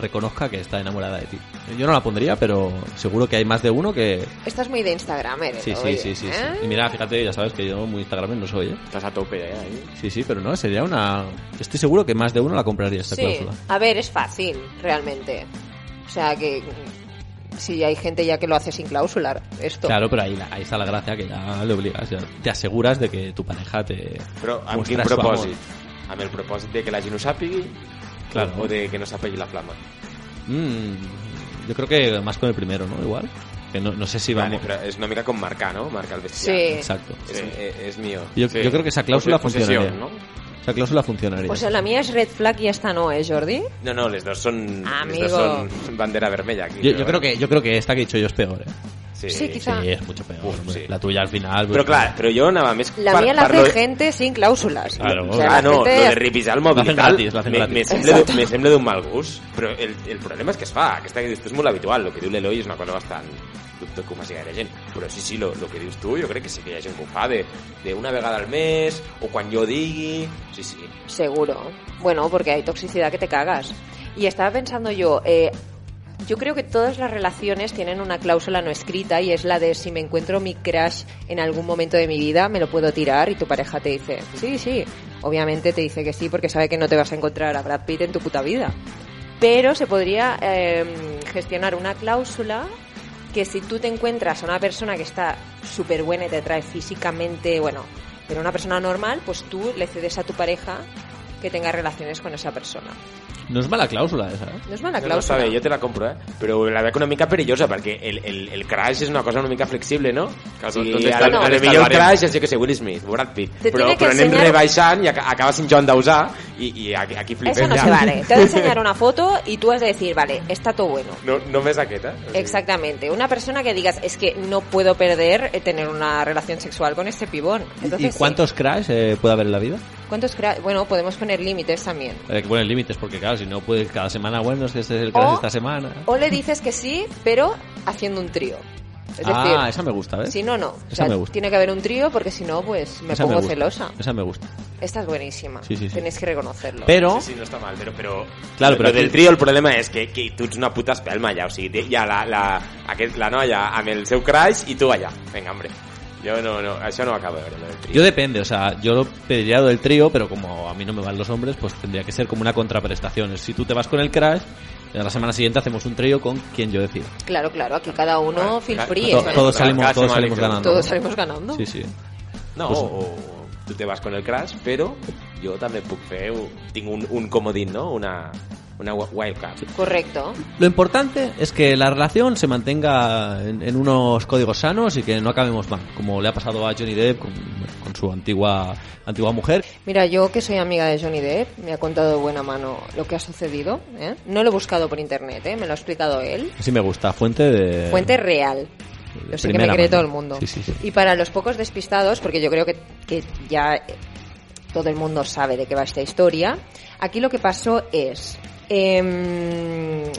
Speaker 1: reconozca que está enamorada de ti. Yo no la pondría, pero seguro que hay más de uno que...
Speaker 4: Esta es muy de Instagram, ¿eh?
Speaker 1: Sí, sí,
Speaker 4: Oye,
Speaker 1: sí, sí, sí.
Speaker 4: ¿eh?
Speaker 1: Y mira, fíjate, ya sabes que yo muy Instagram no soy, ¿eh?
Speaker 3: Estás a tope ya, ¿eh?
Speaker 1: Sí, sí, pero no, sería una... Estoy seguro que más de uno la compraría esta cláusula.
Speaker 4: A ver, es fácil, realmente. O sea que mm, si hay gente ya que lo hace sin cláusula, esto.
Speaker 1: Claro, pero ahí, la- ahí está la gracia que ya le obligas. ya te aseguras de que tu pareja te.
Speaker 2: Però amb
Speaker 1: muestra
Speaker 2: quin
Speaker 1: su amor.
Speaker 2: propòsit? Amb el propòsit de que la gent ho sàpigui
Speaker 1: Claro.
Speaker 2: o de que no s'apegui la flama.
Speaker 1: Mm, yo creo que más con el primero, ¿no? Igual. Que no, no sé si
Speaker 2: Vale,
Speaker 1: vamos.
Speaker 2: però és una mica com marcar, no? Marcar el bestiar.
Speaker 4: Sí.
Speaker 1: Exacto.
Speaker 2: És, és, és mío.
Speaker 1: Yo,
Speaker 3: Sí.
Speaker 1: yo creo que esa cláusula
Speaker 3: Pose- posesión,
Speaker 1: funcionaría.
Speaker 3: ¿no?
Speaker 1: Esa cláusula funcionaría.
Speaker 4: O sea, Pues la mía es red flag y esta no, ¿eh, Jordi?
Speaker 2: No, no, les dos són, les
Speaker 4: Amigo.
Speaker 2: dos són bandera vermella. Aquí,
Speaker 1: yo, yo creo que yo creo que esta que he dicho yo es peor. ¿eh?
Speaker 2: Sí,
Speaker 4: Sí,
Speaker 1: Sí,
Speaker 4: quizá.
Speaker 1: es mucho peor.
Speaker 2: Uf,
Speaker 1: hombre.
Speaker 2: sí.
Speaker 1: La tuya al final.
Speaker 2: Però
Speaker 1: pues,
Speaker 2: clar, però jo anava més...
Speaker 4: La
Speaker 2: per-
Speaker 4: mía la
Speaker 2: per
Speaker 4: hace
Speaker 2: lo-
Speaker 4: gente sin cláusulas.
Speaker 1: Claro.
Speaker 4: O sea,
Speaker 2: Ah,
Speaker 4: la
Speaker 2: no, lo
Speaker 4: gente-
Speaker 2: de revisar el mòbil
Speaker 1: La
Speaker 2: i
Speaker 1: hacen
Speaker 2: tal,
Speaker 1: gratis, la hacen
Speaker 2: me-
Speaker 1: gratis.
Speaker 2: me sembla d'un- me sembla d'un mal gust, però el, el problema és que es fa, aquesta que dius tu és molt habitual, el que diu l'Eloi és una cosa bastant dubte que ho faci gaire gent, però sí, sí, el que dius tu jo crec que sí que hi ha gent que ho fa de, de una vegada al mes, o quan jo digui, sí, sí,
Speaker 4: Seguro. Bueno, porque hay toxicidad que te cagas. Y estaba pensando yo, eh, yo creo que todas las relaciones tienen una cláusula no escrita y es la de si me encuentro mi crush en algún momento de mi vida, me lo puedo tirar y tu pareja te dice, sí, sí. Obviamente te dice que sí porque sabe que no te vas a encontrar a Brad Pitt en tu puta vida. Pero se podría eh, gestionar una cláusula que si tú te encuentras a una persona que está súper buena y te trae físicamente, bueno, pero una persona normal, pues tú le cedes a tu pareja que tenga relaciones con esa persona.
Speaker 1: No es mala cláusula esa. ¿eh?
Speaker 4: No es mala
Speaker 2: No, no
Speaker 4: cláusula.
Speaker 2: sabe, jo te la compro, eh? Però la veig una mica perillosa, perquè el, el, el crash és una cosa una mica flexible, no?
Speaker 3: Clar,
Speaker 2: O sigui,
Speaker 3: tot-
Speaker 2: a,
Speaker 3: tot
Speaker 2: a,
Speaker 4: està-
Speaker 2: a,
Speaker 4: tot
Speaker 2: lo
Speaker 3: està
Speaker 2: millor el
Speaker 3: barem.
Speaker 2: crash és, jo que sé, Will Smith, o Brad Pitt.
Speaker 4: Te
Speaker 2: però,
Speaker 4: tiene que
Speaker 2: però anem
Speaker 4: enseñar-
Speaker 2: rebaixant i ac- acaba sent John Dausà i, i aquí aquí flipem
Speaker 4: Eso no
Speaker 2: ja.
Speaker 4: se vale. Te voy a enseñar una foto y tú has de decir, vale, está todo bueno.
Speaker 2: No, només aquesta. O
Speaker 4: Eh,
Speaker 2: sigui,
Speaker 4: Exactamente. Una persona que digas, es que no puedo perder eh, tener una relación sexual con este pibón.
Speaker 1: ¿Y
Speaker 4: Entonces, sí.
Speaker 1: cuántos crash eh, puede haber en la vida?
Speaker 4: ¿Cuántos cra- Bueno, podemos poner límites también.
Speaker 1: Hay que poner límites, porque claro, si no puedes cada semana, bueno, es que este es el crash
Speaker 4: O-
Speaker 1: esta semana.
Speaker 4: O le dices que sí, pero haciendo un trío. Es decir,
Speaker 1: ah, esa me gusta, ¿ves?
Speaker 4: si no, no. O
Speaker 1: Esa
Speaker 4: sea,
Speaker 1: me gusta.
Speaker 4: tiene que haber un trío porque si no, pues me
Speaker 1: Esa
Speaker 4: pongo
Speaker 1: gusta.
Speaker 4: celosa.
Speaker 1: Esa me gusta.
Speaker 4: Esta es buenísima.
Speaker 1: Sí, sí, sí.
Speaker 4: Tenéis que reconocerlo.
Speaker 1: Pero,
Speaker 2: Sí, sí, no està mal, però... però
Speaker 1: Claro, però
Speaker 2: però del
Speaker 1: aquí-
Speaker 2: trio el problema és que, que tu ets una puta espelma allà, o sigui, té- hi ha la, la, aquest, la noia amb el seu crash i tu allà. Vinga, hombre. Jo no, no, això no ho acabo de veure, lo del trio.
Speaker 1: Yo depende, o sea, yo lo pediría lo del trío, pero como a mí no me van los hombres, pues tendría que ser como una contraprestación. Si tú te vas con el crash, a la semana siguiente hacemos un trío con quien yo decida.
Speaker 4: Claro, claro, aquí cada uno
Speaker 2: Vale,
Speaker 4: feel
Speaker 2: claro.
Speaker 4: free.
Speaker 2: Todo-
Speaker 1: To-
Speaker 4: ¿eh?
Speaker 1: todos salimos,
Speaker 3: Casi
Speaker 1: todos
Speaker 3: me
Speaker 1: salimos
Speaker 3: alegro.
Speaker 1: ganando.
Speaker 4: Todos salimos ganando.
Speaker 1: Sí, sí.
Speaker 2: No, pues... o, o tu te vas con el crash, però jo també puc fer... un- Tinc un, un comodín, no? Una, una wi- wildcard.
Speaker 4: Correcto.
Speaker 1: Lo importante es que la relación se mantenga en, en unos códigos sanos y que no acabemos mal, como le ha pasado a Johnny Depp con, con su antigua antigua mujer.
Speaker 4: Mira, yo que soy amiga de Johnny Depp, me ha contado de buena mano lo que ha sucedido. ¿eh? No lo he buscado por internet, ¿eh? me lo ha explicado él.
Speaker 1: Así me gusta, fuente de
Speaker 4: Fuente real. Yo sé que me
Speaker 1: Primera
Speaker 4: cree
Speaker 1: mano.
Speaker 4: todo el mundo.
Speaker 1: Sí, sí, sí.
Speaker 4: Y para los pocos despistados, porque yo creo que, que ya eh, todo el mundo sabe de qué va esta historia, aquí lo que pasó es... em,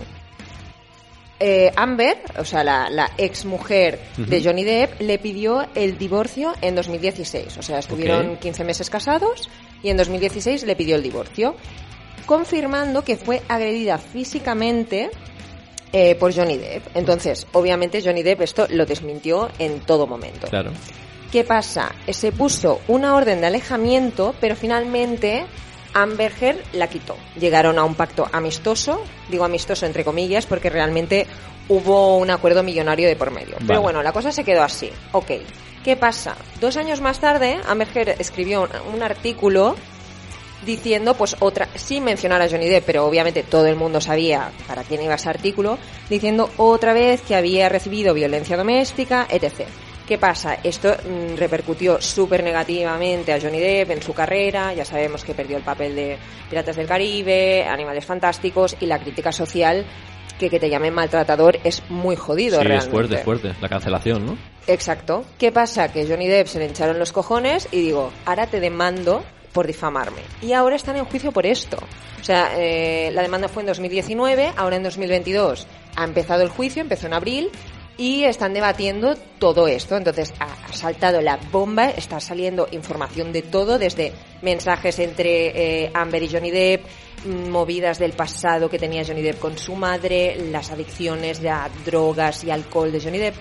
Speaker 4: eh, Amber, o sea, la, la ex mujer de Johnny Depp, le pidió el divorcio en 2016. O sea, estuvieron
Speaker 1: Ok.
Speaker 4: 15 meses casados y en 2016 le pidió el divorcio, confirmando que fue agredida físicamente eh, por Johnny Depp. Entonces, obviamente Johnny Depp esto lo desmintió en todo momento.
Speaker 1: Claro.
Speaker 4: ¿Qué pasa? Eh, Se puso una orden de alejamiento, pero finalmente Amber Heard la quitó. Llegaron a un pacto amistoso, digo amistoso entre comillas, porque realmente hubo un acuerdo millonario de por medio.
Speaker 1: Vale.
Speaker 4: Pero bueno, la cosa se quedó así. Ok. ¿Qué pasa? Dos años más tarde, Amber Heard escribió un- un artículo diciendo, pues otra, sin mencionar a Johnny Depp, pero obviamente todo el mundo sabía para quién iba ese artículo, diciendo otra vez que había recibido violencia doméstica, etc. ¿Qué pasa? Esto mm, repercutió súper negativamente a Johnny Depp en su carrera, ya sabemos que perdió el papel de Piratas del Caribe, Animales Fantásticos y la crítica social que, que te llamen maltratador es muy
Speaker 1: Sí,
Speaker 4: jodido realmente.
Speaker 1: es fuerte, es fuerte. La cancelación, ¿no?
Speaker 4: Exacto. ¿Qué pasa? Que Johnny Depp se le hincharon los cojones y digo, ahora te demando por difamarme. Y ahora están en juicio por esto. O sea, eh, la demanda fue en 2019, ahora en 2022 ha empezado el juicio, empezó en abril y están debatiendo todo esto. Entonces ha ha saltado la bomba, está saliendo información de todo, desde mensajes entre eh, Amber y Johnny Depp, mm, movidas del pasado que tenía Johnny Depp con su madre, las adicciones a drogas y alcohol de Johnny Depp.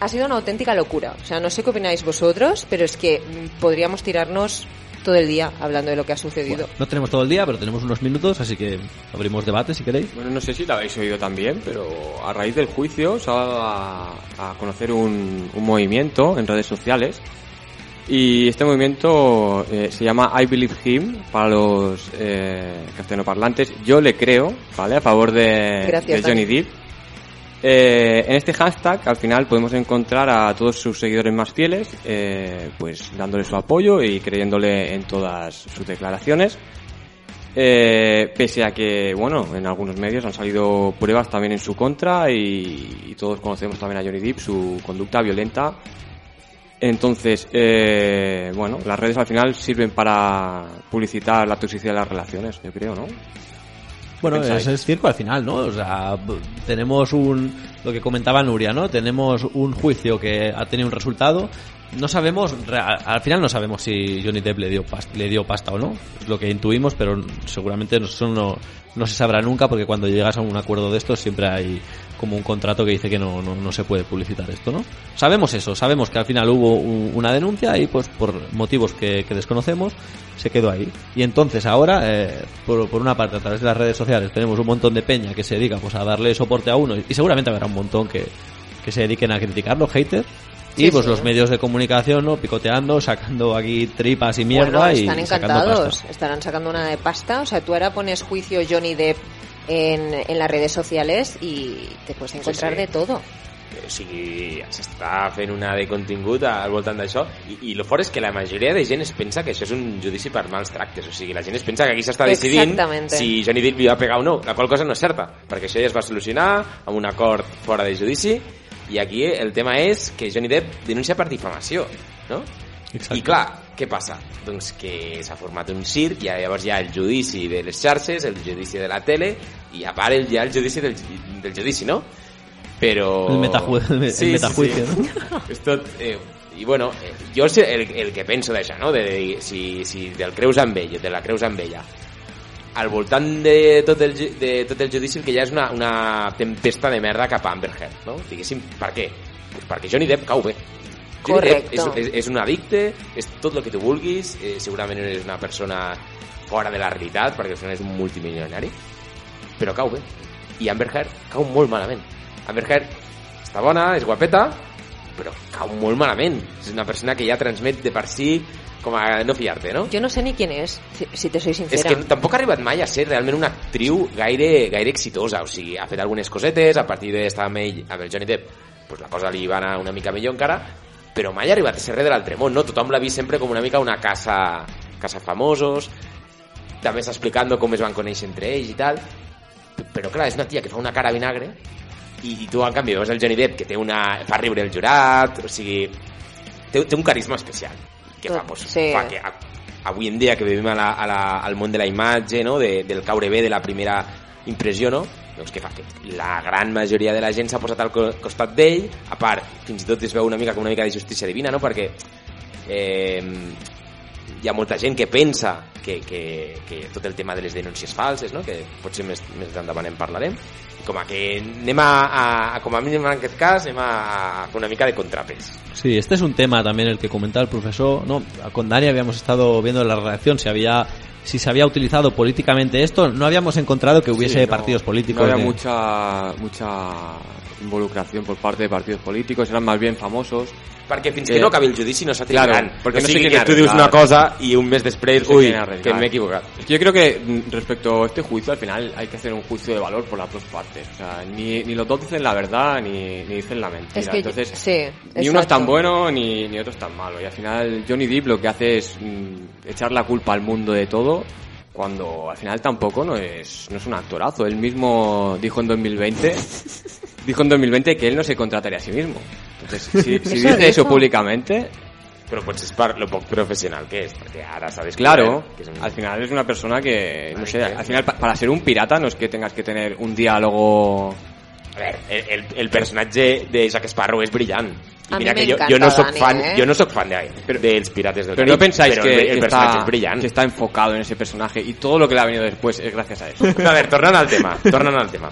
Speaker 4: Ha sido una auténtica locura. O sea, no sé qué opináis vosotros, pero es que mm, podríamos tirarnos todo el día hablando de lo que ha sucedido.
Speaker 1: Bueno, no tenemos todo el día, pero tenemos unos minutos, así que abrimos debate si queréis.
Speaker 3: Bueno, no sé si la habéis oído también, pero a raíz del juicio se ha dado a, a conocer un, un movimiento en redes sociales. Y este movimiento eh, se llama I Believe Him para los eh, castellanoparlantes. Yo le creo, ¿vale? A favor de,
Speaker 4: Gracias,
Speaker 3: de Johnny Depp. Eh, en este hashtag al final podemos encontrar a todos sus seguidores más fieles, eh, pues dándole su apoyo y creyéndole en todas sus declaraciones. Eh, pese a que, bueno, en algunos medios han salido pruebas también en su contra y, y todos conocemos también a Johnny Depp, su conducta violenta. Entonces, eh, bueno, las redes al final sirven para publicitar la toxicidad de las relaciones, yo creo, ¿no?
Speaker 1: Bueno, es,
Speaker 3: pensáis?
Speaker 1: es circo al final, ¿no? O sea, b- tenemos un, lo que comentaba Nuria, ¿no? Tenemos un juicio que ha tenido un resultado. No sabemos, re- a- al final no sabemos si Johnny Depp le dio, pas- le dio pasta o no. Es lo que intuimos, pero seguramente no- eso no, no se sabrá nunca porque cuando llegas a un acuerdo de estos siempre hay como un contrato que dice que no, no, no se puede publicitar esto, ¿no? Sabemos eso, sabemos que al final hubo u- una denuncia y pues por motivos que, que desconocemos se quedó ahí. Y entonces ahora, eh, por, por una parte, a través de las redes sociales tenemos un montón de peña que se dedica pues a darle soporte a uno y, y seguramente habrá un montón que, que se dediquen a criticar los haters. Y
Speaker 4: Sí,
Speaker 1: pues
Speaker 4: sí.
Speaker 1: los medios de comunicación, ¿no? Picoteando, sacando aquí tripas y mierda
Speaker 4: Bueno,
Speaker 1: y
Speaker 4: están
Speaker 1: sacando
Speaker 4: encantados,
Speaker 1: pasta.
Speaker 4: estarán sacando una de pasta. O sea, tú ahora pones juicio Johnny Depp en, en las redes sociales y te puedes encontrar
Speaker 2: sí.
Speaker 4: de todo.
Speaker 2: Eh, o sigui, s'està fent una de contingut al voltant d'això i, i lo fort és que la majoria de gent es pensa que això és un judici per mals tractes o sigui, la gent es pensa que aquí s'està decidint
Speaker 4: Exactamente.
Speaker 2: si Johnny Depp li va pegar o no la qual cosa no és certa, perquè això ja es va solucionar amb un acord fora de judici i aquí el tema és que Johnny Depp denuncia per difamació no?
Speaker 1: Exacte.
Speaker 2: I clar, què passa? Doncs que s'ha format un circ, i llavors hi ha el judici de les xarxes, el judici de la tele, i a part el- hi ha el judici del, del judici, no? Però...
Speaker 1: El metaju- el metajuicio,
Speaker 2: no? És tot... Eh, I bueno, eh, jo sé el, el que penso d'això, no? De, dir, si, si del creus amb ell, de la creus amb ella, al voltant de tot el, ju- de tot el judici el que hi ha és una, una tempesta de merda cap a Amber Heard, no? Diguéssim, per què? Pues perquè Johnny Depp cau bé. Johnny Depp
Speaker 4: Correcto.
Speaker 2: és, és, és un addicte, és tot el que tu vulguis, eh, segurament és una persona fora de la realitat, perquè al final és un multimilionari, però cau bé. I Amber Heard cau molt malament. Amber Heard està bona, és guapeta, però cau molt malament. És una persona que ja transmet de per si com a no fiar-te, no?
Speaker 4: Yo no sé ni quién es, si, si te soy
Speaker 2: És
Speaker 4: sincera.
Speaker 2: que tampoc ha arribat mai a ser realment una actriu gaire, gaire exitosa, o sigui, ha fet algunes cosetes, a partir d'estar amb ell, amb el Johnny Depp, pues la cosa li va anar una mica millor encara, però mai ha arribat a ser res de l'altre món, no? Tothom l'ha vist sempre com una mica una casa, casa famosos, també està explicant com es van conèixer entre ells i tal, però clar, és una tia que fa una cara a vinagre I tu, en canvi, veus el Johnny Depp, que té una... fa riure el jurat, o sigui... Té, té un carisma especial, que
Speaker 4: Tot,
Speaker 2: fa, pues,
Speaker 4: sí.
Speaker 2: fa que a, avui en dia que vivim a la, a la, al món de la imatge, no? de, del caure bé de la primera impressió, no? Doncs què fa? Que la gran majoria de la gent s'ha posat al co- costat d'ell, a part, fins i tot es veu una mica com una mica de justícia divina, no? Perquè eh, hi ha molta gent que pensa que, que, que tot el tema de les denúncies falses, no? que potser més, més endavant en parlarem, com a que anem a, a, a com a mínim en aquest cas, anem a, a fer una mica de contrapès.
Speaker 1: Sí, este es un tema también el que comentaba el profesor, ¿no? Con Dani habíamos estado viendo la reacción, si había si se había utilizado políticamente esto, no habíamos encontrado que hubiese
Speaker 3: Sí, no-
Speaker 1: partidos políticos.
Speaker 3: No había
Speaker 1: ni-
Speaker 3: mucha, mucha involucración por parte de partidos políticos, eran más bien famosos.
Speaker 2: Perquè fins
Speaker 3: Eh,
Speaker 2: que no acabi el judici no s'ha
Speaker 3: claro,
Speaker 2: trigat. no
Speaker 3: perquè no sé
Speaker 2: sigui
Speaker 3: quin
Speaker 2: que tu dius una
Speaker 3: arribar.
Speaker 2: cosa i un mes després,
Speaker 3: No sé
Speaker 2: ui,
Speaker 3: quin arribar.
Speaker 2: que m'he equivocat.
Speaker 3: Yo creo que mm, respecto a este juicio, al final hay que hacer un juicio de valor por las dos partes. O sea, ni, ni los dos dicen la verdad ni, ni dicen la mentira.
Speaker 4: Es que
Speaker 3: Entonces,
Speaker 4: sí,
Speaker 3: ni uno es
Speaker 4: exacto.
Speaker 3: tan bueno ni, ni otro es tan malo. Y al final Johnny Depp lo que hace es mm, echar la culpa al mundo de todo cuando al final tampoco no es, no es un actorazo. Él mismo dijo en 2020 dijo en 2020 que él no se contrataría a sí mismo. Entonces, si, si
Speaker 4: Eso
Speaker 3: dice eso
Speaker 4: dijo.
Speaker 3: públicamente,
Speaker 2: Però potser és per lo poc professional que és, perquè ara s'ha descobert
Speaker 3: Claro,
Speaker 2: que és un...
Speaker 3: al final es una persona que, no
Speaker 2: Ay,
Speaker 3: sé,
Speaker 2: qué.
Speaker 3: al final pa- para ser un pirata no es que tengas que tener un diálogo...
Speaker 2: A veure, el, el, el personatge de Jack Sparrow és brillant. I
Speaker 4: A mi
Speaker 2: mira que jo,
Speaker 4: m'encanta
Speaker 2: jo no sóc
Speaker 4: Dani,
Speaker 2: fan,
Speaker 4: eh?
Speaker 2: jo no sóc fan de, dels Pirates del
Speaker 3: Pero no
Speaker 2: Carib,
Speaker 3: pensáis
Speaker 2: però
Speaker 3: que,
Speaker 2: el,
Speaker 3: que
Speaker 2: el personatge
Speaker 3: está,
Speaker 2: és brillant.
Speaker 3: que está enfocado en ese personaje y todo lo que le ha venido después es gracias a eso.
Speaker 2: A ver, tornant al tema, tornant al tema.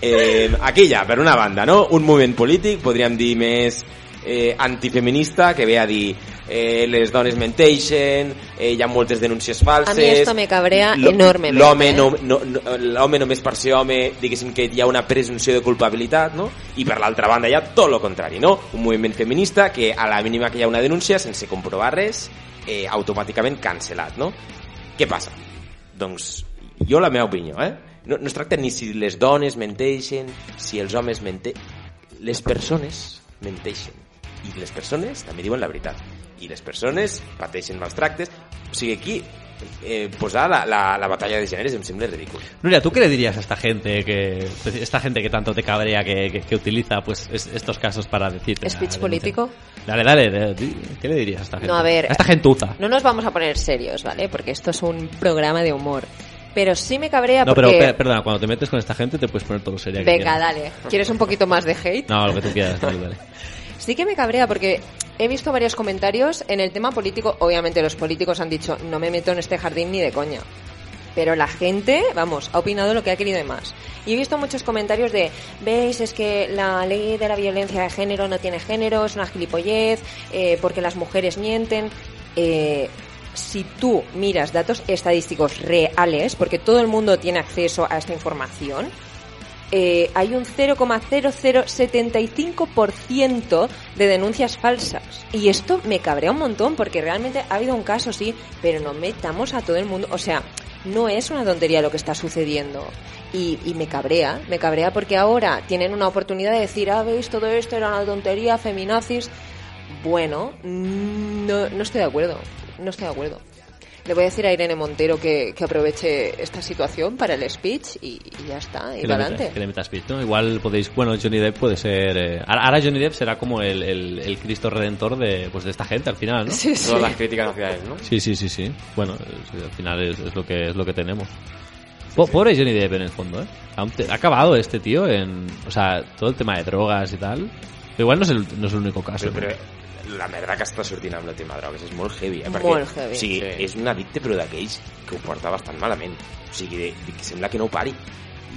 Speaker 2: Eh, aquí ja, per una banda, no? Un moviment polític, podríem dir més eh, antifeminista, que ve a dir eh, les dones menteixen, eh, hi ha moltes denúncies falses...
Speaker 4: A mi esto me cabrea
Speaker 2: L'ho-
Speaker 4: enormemente,
Speaker 2: L'home
Speaker 4: eh?
Speaker 2: no, no, no, l'home només per ser home, diguéssim que hi ha una presunció de culpabilitat, no? I per l'altra banda hi ha tot el contrari, no? Un moviment feminista que a la mínima que hi ha una denúncia, sense comprovar res, eh, automàticament cancel·lat, no? Què passa? Doncs jo la meva opinió, eh? No, no es tracta ni si les dones menteixen, si els homes menteixen... Les persones menteixen. I les persones també diuen la veritat. I les persones pateixen mals tractes. O sigui, aquí eh, posar la, la, la batalla de gèneres em sembla ridícul.
Speaker 1: Nuria, ¿tú qué le dirías a esta gente que pues, esta gente que tanto te cabrea que, que- que utiliza pues es- estos casos para decirte?
Speaker 4: Speech
Speaker 1: "Ah,
Speaker 4: político".
Speaker 1: Dale, dale, de- di- ¿qué le dirías a esta gente?
Speaker 4: No, a ver.
Speaker 1: esta gentuza.
Speaker 4: No nos vamos a poner serios, ¿vale? Porque esto es un programa de humor. Pero sí me cabrea
Speaker 1: No, pero
Speaker 4: porque...
Speaker 1: per- perdona, cuando te metes con esta gente te puedes poner todo seria. que
Speaker 4: Venga,
Speaker 1: quieras.
Speaker 4: dale. ¿Quieres un poquito más de hate?
Speaker 1: No, lo que tú quieras, dale, dale.
Speaker 4: Sí que me cabrea porque he visto varios comentarios en el tema político. Obviamente los políticos han dicho, no me meto en este jardín ni de coña. Pero la gente, vamos, ha opinado lo que ha querido y más. Y he visto muchos comentarios de, veis, es que la ley de la violencia de género no tiene género, es una gilipollez, eh, porque las mujeres mienten. Eh, si tú miras datos estadísticos reales, porque todo el mundo tiene acceso a esta información, eh, hay un 0,0075% de denuncias falsas. Y esto me cabrea un montón porque realmente ha habido un caso, sí, pero no metamos a todo el mundo. O sea, no es una tontería lo que está sucediendo. Y, y me cabrea, me cabrea porque ahora tienen una oportunidad de decir, ah, veis, todo esto era una tontería, feminazis. Bueno, mm, no, no estoy de acuerdo, no estoy de acuerdo. Le voy a decir a Irene Montero que, que aproveche esta situación para el speech y, y ya está, y
Speaker 1: Que le, metas,
Speaker 4: para adelante.
Speaker 1: que le metas pit, ¿no? Igual podéis, bueno, Johnny Depp puede ser... eh, ahora ahora Johnny Depp será como el, el- el Cristo Redentor de, pues de esta gente al final, ¿no?
Speaker 4: Sí, sí.
Speaker 3: Todas las críticas hacia él, ¿no?
Speaker 1: Sí, sí, sí, sí. Bueno, es- al final es, es lo que es lo que tenemos. Po- Pobre Johnny Depp en el fondo, ¿eh? Aún te- Ha acabado este tío en, o sea, todo el tema de drogas y tal. Pero igual no es el, no es el único caso. ¿eh?
Speaker 2: Però,
Speaker 1: ¿no?
Speaker 2: però la merda que està sortint amb el tema de drogues és molt heavy, eh?
Speaker 4: Molt heavy.
Speaker 2: O sigui,
Speaker 3: Sí.
Speaker 2: és un addicte, però d'aquells que ho porta bastant malament. O sigui, de, de, que sembla que no ho pari.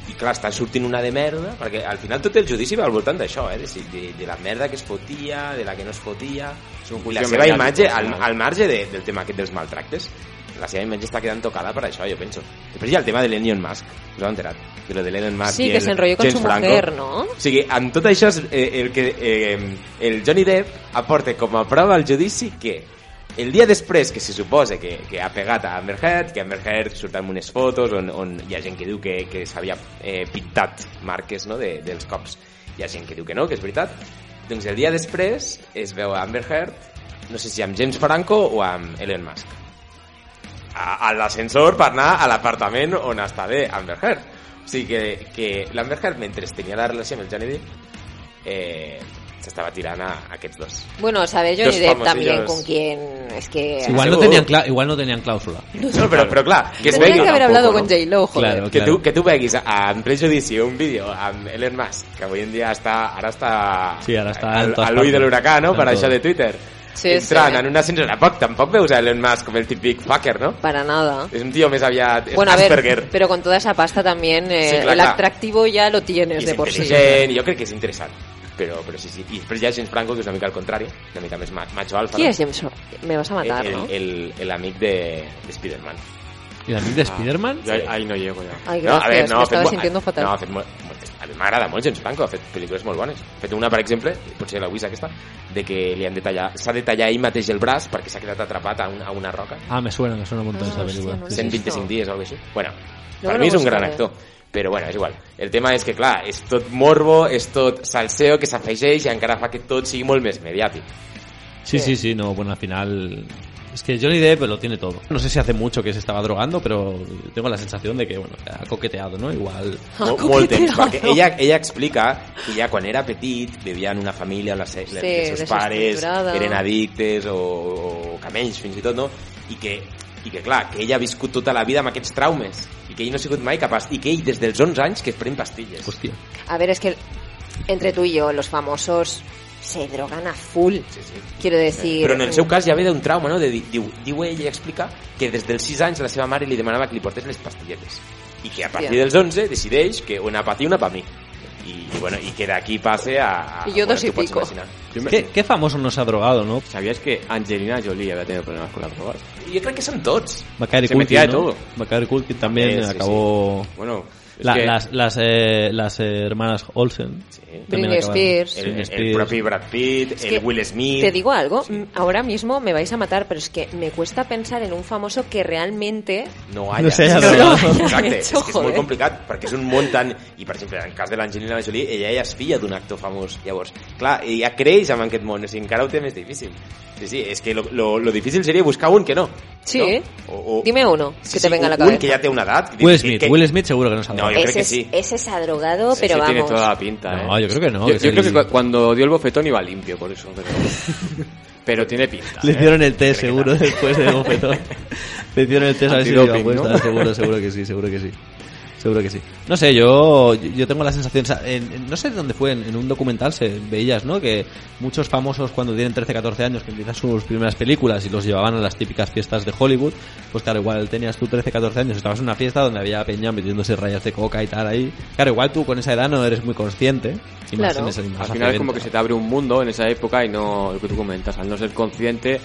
Speaker 2: I clar, està sortint una de merda, perquè al final tot el judici va al voltant d'això, eh? De, si- de, de la merda que es fotia, de la que no es fotia...
Speaker 3: És un
Speaker 2: I
Speaker 3: juicio
Speaker 2: la seva
Speaker 3: mediàtic,
Speaker 2: imatge, al,
Speaker 3: personal.
Speaker 2: al marge de, del tema aquest dels maltractes, la seva imatge està quedant tocada per això, jo penso. Després hi ha el tema de l'Elon Musk, us heu enterat? De lo de l'Elon Musk
Speaker 4: Sí,
Speaker 2: i
Speaker 4: que
Speaker 2: el
Speaker 4: se enrolló con
Speaker 2: James
Speaker 4: su
Speaker 2: Franco.
Speaker 4: mujer, ¿no?
Speaker 2: O sigui, amb tot això, és, eh, el, que, eh, el Johnny Depp aporta com a prova al judici que el dia després que se suposa que, que ha pegat a Amber Heard, que Amber Heard surt amb unes fotos on, on hi ha gent que diu que, que s'havia eh, pintat marques no, de, dels cops, hi ha gent que diu que no, que és veritat, doncs el dia després es veu a Amber Heard, no sé si amb James Franco o amb Elon Musk a, a l'ascensor per anar a l'apartament on està bé Amber Heard. sigui que, que l'Amberhard, mentre tenia la relació amb el Johnny Depp, eh, s'estaba tirant a aquests dos.
Speaker 4: Bueno, ¿sabes?
Speaker 2: Los
Speaker 4: Johnny Depp
Speaker 2: famosillos.
Speaker 4: también con quien. Es que.
Speaker 2: Sí,
Speaker 1: Igual no,
Speaker 2: Segur.
Speaker 1: tenían cla- igual no tenían cláusula.
Speaker 2: No, però, però clar, que es
Speaker 4: Tendrían
Speaker 2: vegui...
Speaker 4: que haber
Speaker 2: tampoc,
Speaker 4: hablado
Speaker 2: no?
Speaker 4: con J-Lo, joder.
Speaker 1: Claro.
Speaker 2: Que tu, que tu veguis en prejudici un vídeo amb Elon Musk, que avui en dia està, ara està,
Speaker 1: Sí, ara està en
Speaker 2: al,
Speaker 1: totes
Speaker 2: a l'ull de
Speaker 1: partes.
Speaker 2: l'huracà, no?,
Speaker 1: En
Speaker 2: per
Speaker 1: tot.
Speaker 2: això de Twitter.
Speaker 4: Sí,
Speaker 2: Entrant
Speaker 4: sí.
Speaker 2: en una ascensor, tampoc, tampoc veus a Elon Musk com el típic fucker, no?
Speaker 4: Para nada.
Speaker 2: És un tio més aviat és
Speaker 4: Bueno, a
Speaker 2: Asperger.
Speaker 4: ver, pero con toda esa pasta también eh,
Speaker 2: claro,
Speaker 4: el
Speaker 2: claro.
Speaker 4: atractivo ya lo tienes
Speaker 2: I
Speaker 4: de
Speaker 2: és
Speaker 4: por sí.
Speaker 2: intel·ligent, i jo crec que és interessant. Però, però sí, sí. I després hi ha James Franco, que és una mica al contrari, una mica més ma- macho alfa.
Speaker 4: ¿Quién
Speaker 2: no?
Speaker 4: es James? Franco? Me vas a matar,
Speaker 2: el,
Speaker 4: ¿no?
Speaker 2: el, el, el amic de, de Spider-Man.
Speaker 1: ¿Y también de Spider-Man?
Speaker 3: Yo ahí, ahí no llego ya.
Speaker 4: Ay, gracias, me estaba
Speaker 2: mo-
Speaker 4: sintiendo fatal.
Speaker 2: ah, No, ha fet mo- a mi m'agrada molt James Franco, ha fet pel·lícules molt bones. Ha fet una, per exemple, potser la Wisa aquesta, de que li han de tallar, s'ha de tallar ell mateix el braç perquè s'ha quedat atrapat a, un, a una roca.
Speaker 1: Ah, me suena, me suena un montón
Speaker 4: Ah,
Speaker 1: esa película.
Speaker 4: hostia, no lo
Speaker 1: Sí, sí.
Speaker 4: sé.
Speaker 2: 125 dies o alguna cosa així. Bueno, per
Speaker 4: lo
Speaker 2: mi és un
Speaker 4: buscaré.
Speaker 2: gran actor.
Speaker 4: eh.
Speaker 2: Però bueno, és igual. El tema és que, clar, és tot morbo, és tot salseo que s'afegeix i encara fa que tot sigui molt més mediàtic.
Speaker 1: Sí, sí, sí, no, bueno, al final... Es que Johnny Depp lo tiene todo. No sé si hace mucho que se estaba drogando, pero tengo la sensación de que, bueno, ha coqueteado, ¿no? Igual...
Speaker 4: Ah,
Speaker 2: Mo-
Speaker 4: com
Speaker 2: molt
Speaker 4: que
Speaker 2: temps,
Speaker 4: tirado.
Speaker 2: perquè ella, ella explica que ja quan era petit vivia en una família on les, les,
Speaker 4: Sí,
Speaker 2: els seus pares
Speaker 4: desestructurada.
Speaker 2: eren addictes o, o camells fins i tot, no? I que, i que clar, que ella ha viscut tota la vida amb aquests traumes i que ell no ha sigut mai capaç i que ell des dels 11 anys que es pren pastilles.
Speaker 1: Hostia.
Speaker 4: A ver, es que entre tú y yo, los famosos se drogan a full.
Speaker 2: Sí, sí.
Speaker 4: Quiero decir. mm,
Speaker 2: Però en el seu cas ja ve d'un trauma, no? De, di- diu, diu ell i explica que des dels 6 anys la seva mare li demanava que li portés les pastilletes i que a partir dels 11 decideix que una pa ti, una pa mi. I, i, bueno, i que d'aquí passe a... a
Speaker 4: I jo dos
Speaker 2: tu
Speaker 4: i
Speaker 2: pots
Speaker 4: pico.
Speaker 2: imaginar.
Speaker 1: ¿Qué, qué famoso nos ha drogado, no?
Speaker 3: ¿Sabías que Angelina Jolie había tenido problemas con las drogas?
Speaker 2: Jo crec que són tots.
Speaker 1: Macari
Speaker 3: Se metía de
Speaker 1: Culkin, ¿no?
Speaker 3: todo.
Speaker 1: Macari Culkin también
Speaker 2: Eh, sí,
Speaker 1: acabó...
Speaker 3: Bueno, es
Speaker 1: La-
Speaker 3: que
Speaker 1: Las, las, eh, las eh, hermanas Olsen.
Speaker 2: Sí.
Speaker 1: también
Speaker 4: Britney
Speaker 1: acabaron.
Speaker 4: Spears.
Speaker 2: El,
Speaker 1: Britney
Speaker 2: el,
Speaker 1: Spears.
Speaker 2: propi Brad Pitt,
Speaker 4: que
Speaker 2: el Will Smith...
Speaker 4: Te digo algo, m- ahora mismo me vais a matar, pero es que me cuesta pensar en un famoso que realmente.
Speaker 2: No haya.
Speaker 1: No se haya
Speaker 2: Sí,
Speaker 1: drogado.
Speaker 2: sí,
Speaker 4: No
Speaker 2: Exacte,
Speaker 4: haya
Speaker 2: és,
Speaker 4: hecho,
Speaker 2: que és molt
Speaker 4: joder.
Speaker 2: complicat perquè és un món tan... I, per exemple, en el cas de l'Angelina Jolie, ella ja és filla d'un actor famós. Llavors, clar, ella creix amb aquest món, o sigui, encara ho té més difícil. Sí, sí, és que lo, lo, lo difícil seria buscar un que no.
Speaker 4: Sí. eh?
Speaker 2: No? O, o...
Speaker 4: Dime uno que te venga a la
Speaker 2: un- Un
Speaker 4: cabeza.
Speaker 2: que ja té una edat. que-
Speaker 1: Will
Speaker 2: que-
Speaker 1: Smith,
Speaker 2: que-
Speaker 1: Will Smith seguro que nos ha drogado.
Speaker 2: yo creo
Speaker 4: ese,
Speaker 2: que
Speaker 4: es-
Speaker 2: sí.
Speaker 4: ese es adrogado, pero
Speaker 3: sí tiene
Speaker 4: vamos.
Speaker 3: toda la pinta, ¿eh?
Speaker 1: No, yo creo que no.
Speaker 3: Yo,
Speaker 1: que
Speaker 3: yo
Speaker 1: es
Speaker 3: creo que
Speaker 1: el-
Speaker 3: cu- cuando dio el bofetón iba limpio, por eso. Pero, pero tiene pinta.
Speaker 1: Le
Speaker 3: ¿eh?
Speaker 1: hicieron el test seguro después de bofetón. Le hicieron el test a ver si lleva
Speaker 3: Antidoping,
Speaker 1: puesta.
Speaker 3: ¿no?
Speaker 1: Seguro, seguro que sí, seguro que sí. Seguro que sí. No sé, yo, yo tengo la sensación, o sea, en- en- no sé dónde fue, en, en un documental se veías, ¿no? Que muchos famosos cuando tienen 13, 14 años que empiezan sus primeras películas y los llevaban a las típicas fiestas de Hollywood, pues claro, igual tenías tú 13, 14 años, estabas en una fiesta donde había peña metiéndose rayas de coca y tal ahí. Claro, igual tú con esa edad no eres muy consciente. Y más
Speaker 4: Claro.
Speaker 1: en ese- más
Speaker 3: Al
Speaker 1: hace
Speaker 3: final es como
Speaker 1: 20,
Speaker 3: que
Speaker 1: ¿no?
Speaker 3: se te abre un mundo en esa época y no lo que tú comentas, al no ser consciente,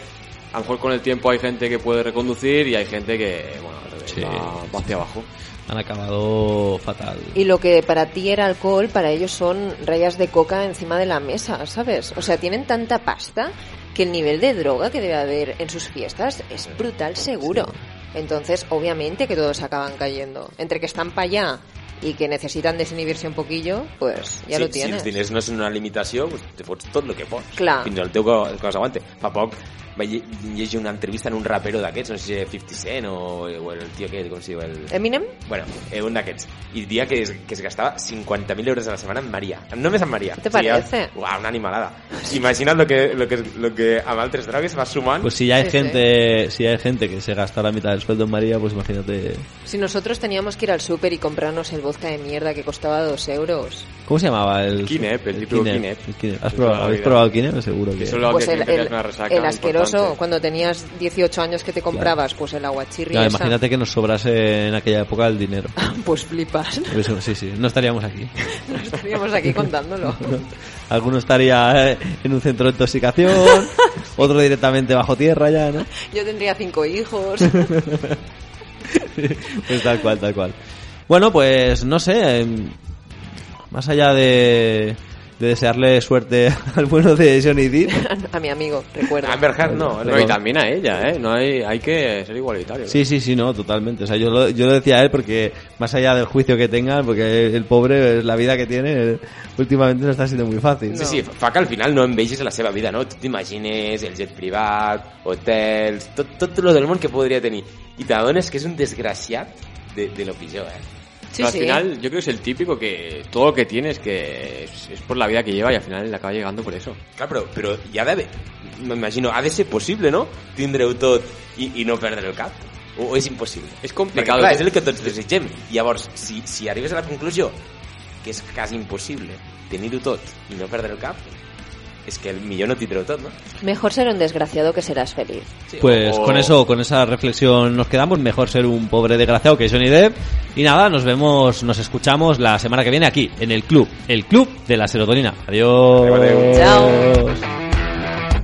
Speaker 3: a lo mejor con el tiempo hay gente que puede reconducir y hay gente que, bueno, al revés,
Speaker 1: Sí.
Speaker 3: va, va hacia abajo.
Speaker 1: Han acabado fatal.
Speaker 4: Y lo que para ti era alcohol, para ellos son rayas de coca encima de la mesa, ¿sabes? O sea, tienen tanta pasta que el nivel de droga que debe haber en sus fiestas es brutal seguro. Entonces, obviamente que todos acaban cayendo. Entre que están para allá y que necesitan desinhibirse un poquillo, pues ya
Speaker 2: si,
Speaker 4: lo
Speaker 2: Si
Speaker 4: tienes.
Speaker 2: els diners no són una limitació, pues, te fots tot el que pots.
Speaker 4: Clar.
Speaker 2: Fins al teu que, que els aguante. Fa poc vaig lle- llegir una entrevista en un rapero d'aquests, no sé si 50 Cent o, o el tio aquest, com se diu? El...
Speaker 4: Eminem,
Speaker 2: Bueno, eh, un d'aquests. I dia que es, que es gastava 50.000 euros a la setmana en Maria. Només en Maria.
Speaker 4: Te parece?
Speaker 2: Uau, una animalada. Imagina't lo que, lo que, lo que amb altres drogues va sumant.
Speaker 1: Pues si ya hay
Speaker 4: Sí, sí.
Speaker 1: gente, si hay gente que se gasta la mitad del sueldo en María, pues imagínate.
Speaker 4: si nosotros teníamos que ir al súper y comprarnos el vodka de mierda que costaba dos euros,
Speaker 1: ¿Cómo se llamaba el?
Speaker 3: Kinep, el típico Kinep.
Speaker 1: el Kinep. ¿Has probado,
Speaker 3: Sí, toda la
Speaker 1: ¿Habéis
Speaker 3: vida.
Speaker 1: probado Kinep? Seguro que.
Speaker 3: Solo
Speaker 4: pues
Speaker 3: que
Speaker 4: el,
Speaker 3: siempre
Speaker 4: el-
Speaker 3: tenías una resaca
Speaker 4: el asqueroso,
Speaker 3: importante.
Speaker 4: cuando tenías 18 años que te comprabas, pues el aguachirri
Speaker 1: Claro,
Speaker 4: esa.
Speaker 1: imagínate que nos sobrase en aquella época el dinero.
Speaker 4: Pues flipas,
Speaker 1: Eso, sí, sí, no estaríamos aquí.
Speaker 4: no estaríamos aquí contándolo.
Speaker 1: Alguno estaría eh, en un centro de intoxicación, otro directamente bajo tierra ya, ¿no?
Speaker 4: Yo tendría cinco hijos.
Speaker 1: Pues tal cual, tal cual. Bueno, pues no sé. em, Más allá de, de desearle suerte al bueno de Johnny Depp,
Speaker 4: A mi amigo,
Speaker 3: Ah,
Speaker 4: recuerda.
Speaker 2: Amber Heard no. eh?
Speaker 3: No, y también a ella, ¿eh? No hay, hay que ser igualitario.
Speaker 1: Sí, sí, sí, no, totalmente. O sea, yo lo, yo lo decía a él porque, más allá del juicio que tengan, porque el pobre, la vida que tiene, eh, últimamente no está siendo muy fácil.
Speaker 2: Sí, sí, fa que al final no envegis la seva vida, no? Tu t'imagines el jet privat, hotels, tot, tot lo del món que podria tenir. I t'adones que és un desgraciat de, de lo pitjor, eh?
Speaker 4: Sí,
Speaker 3: Pero al
Speaker 4: sí.
Speaker 3: final yo creo que es el típico que todo lo que tiene es que es, es por la vida que lleva y al final le acaba llegando por eso.
Speaker 2: Clar, però, però hi ha d'haver... M'imagino, ha de ser possible, no? Tindre-ho tot i, i no perdre el cap. O, o és impossible?
Speaker 3: És complicat.
Speaker 2: Perquè, clar, és el que tots desitgem. Llavors, si, si arribes a la conclusió que és quasi impossible tenir-ho tot i no perdre el cap, és que el millor no tindre-ho tot, no?
Speaker 4: Mejor ser un desgraciado que serás feliz.
Speaker 2: Sí,
Speaker 1: Pues
Speaker 2: o-
Speaker 1: con eso, con esa reflexión nos quedamos. Mejor ser un pobre desgraciado que Johnny Depp. Y nada, nos vemos, nos escuchamos la semana que viene aquí, en el club, el club de la serotonina. Adiós.
Speaker 2: Adeu, adeu.
Speaker 4: Chao.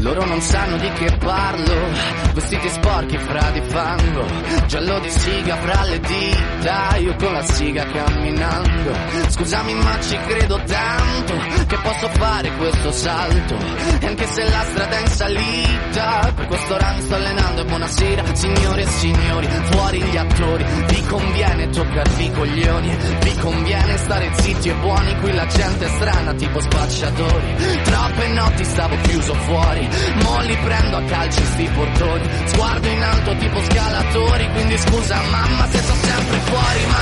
Speaker 7: Loro non sanno di che parlo, vestiti sporchi fra di fango, giallo di siga fra le dita, io con la siga camminando. Scusami ma ci credo tanto che posso fare questo salto, e anche se la strada è in salita, per questo ramo sto allenando e buonasera signore e signori, fuori gli attori, vi conviene toccarvi i coglioni, vi conviene stare zitti e buoni, qui la gente è strana tipo spacciatori, troppe notti stavo chiuso fuori, mo li prendo a calci sti portoni, sguardo in alto tipo scalatori, quindi scusa mamma se sono sempre fuori, ma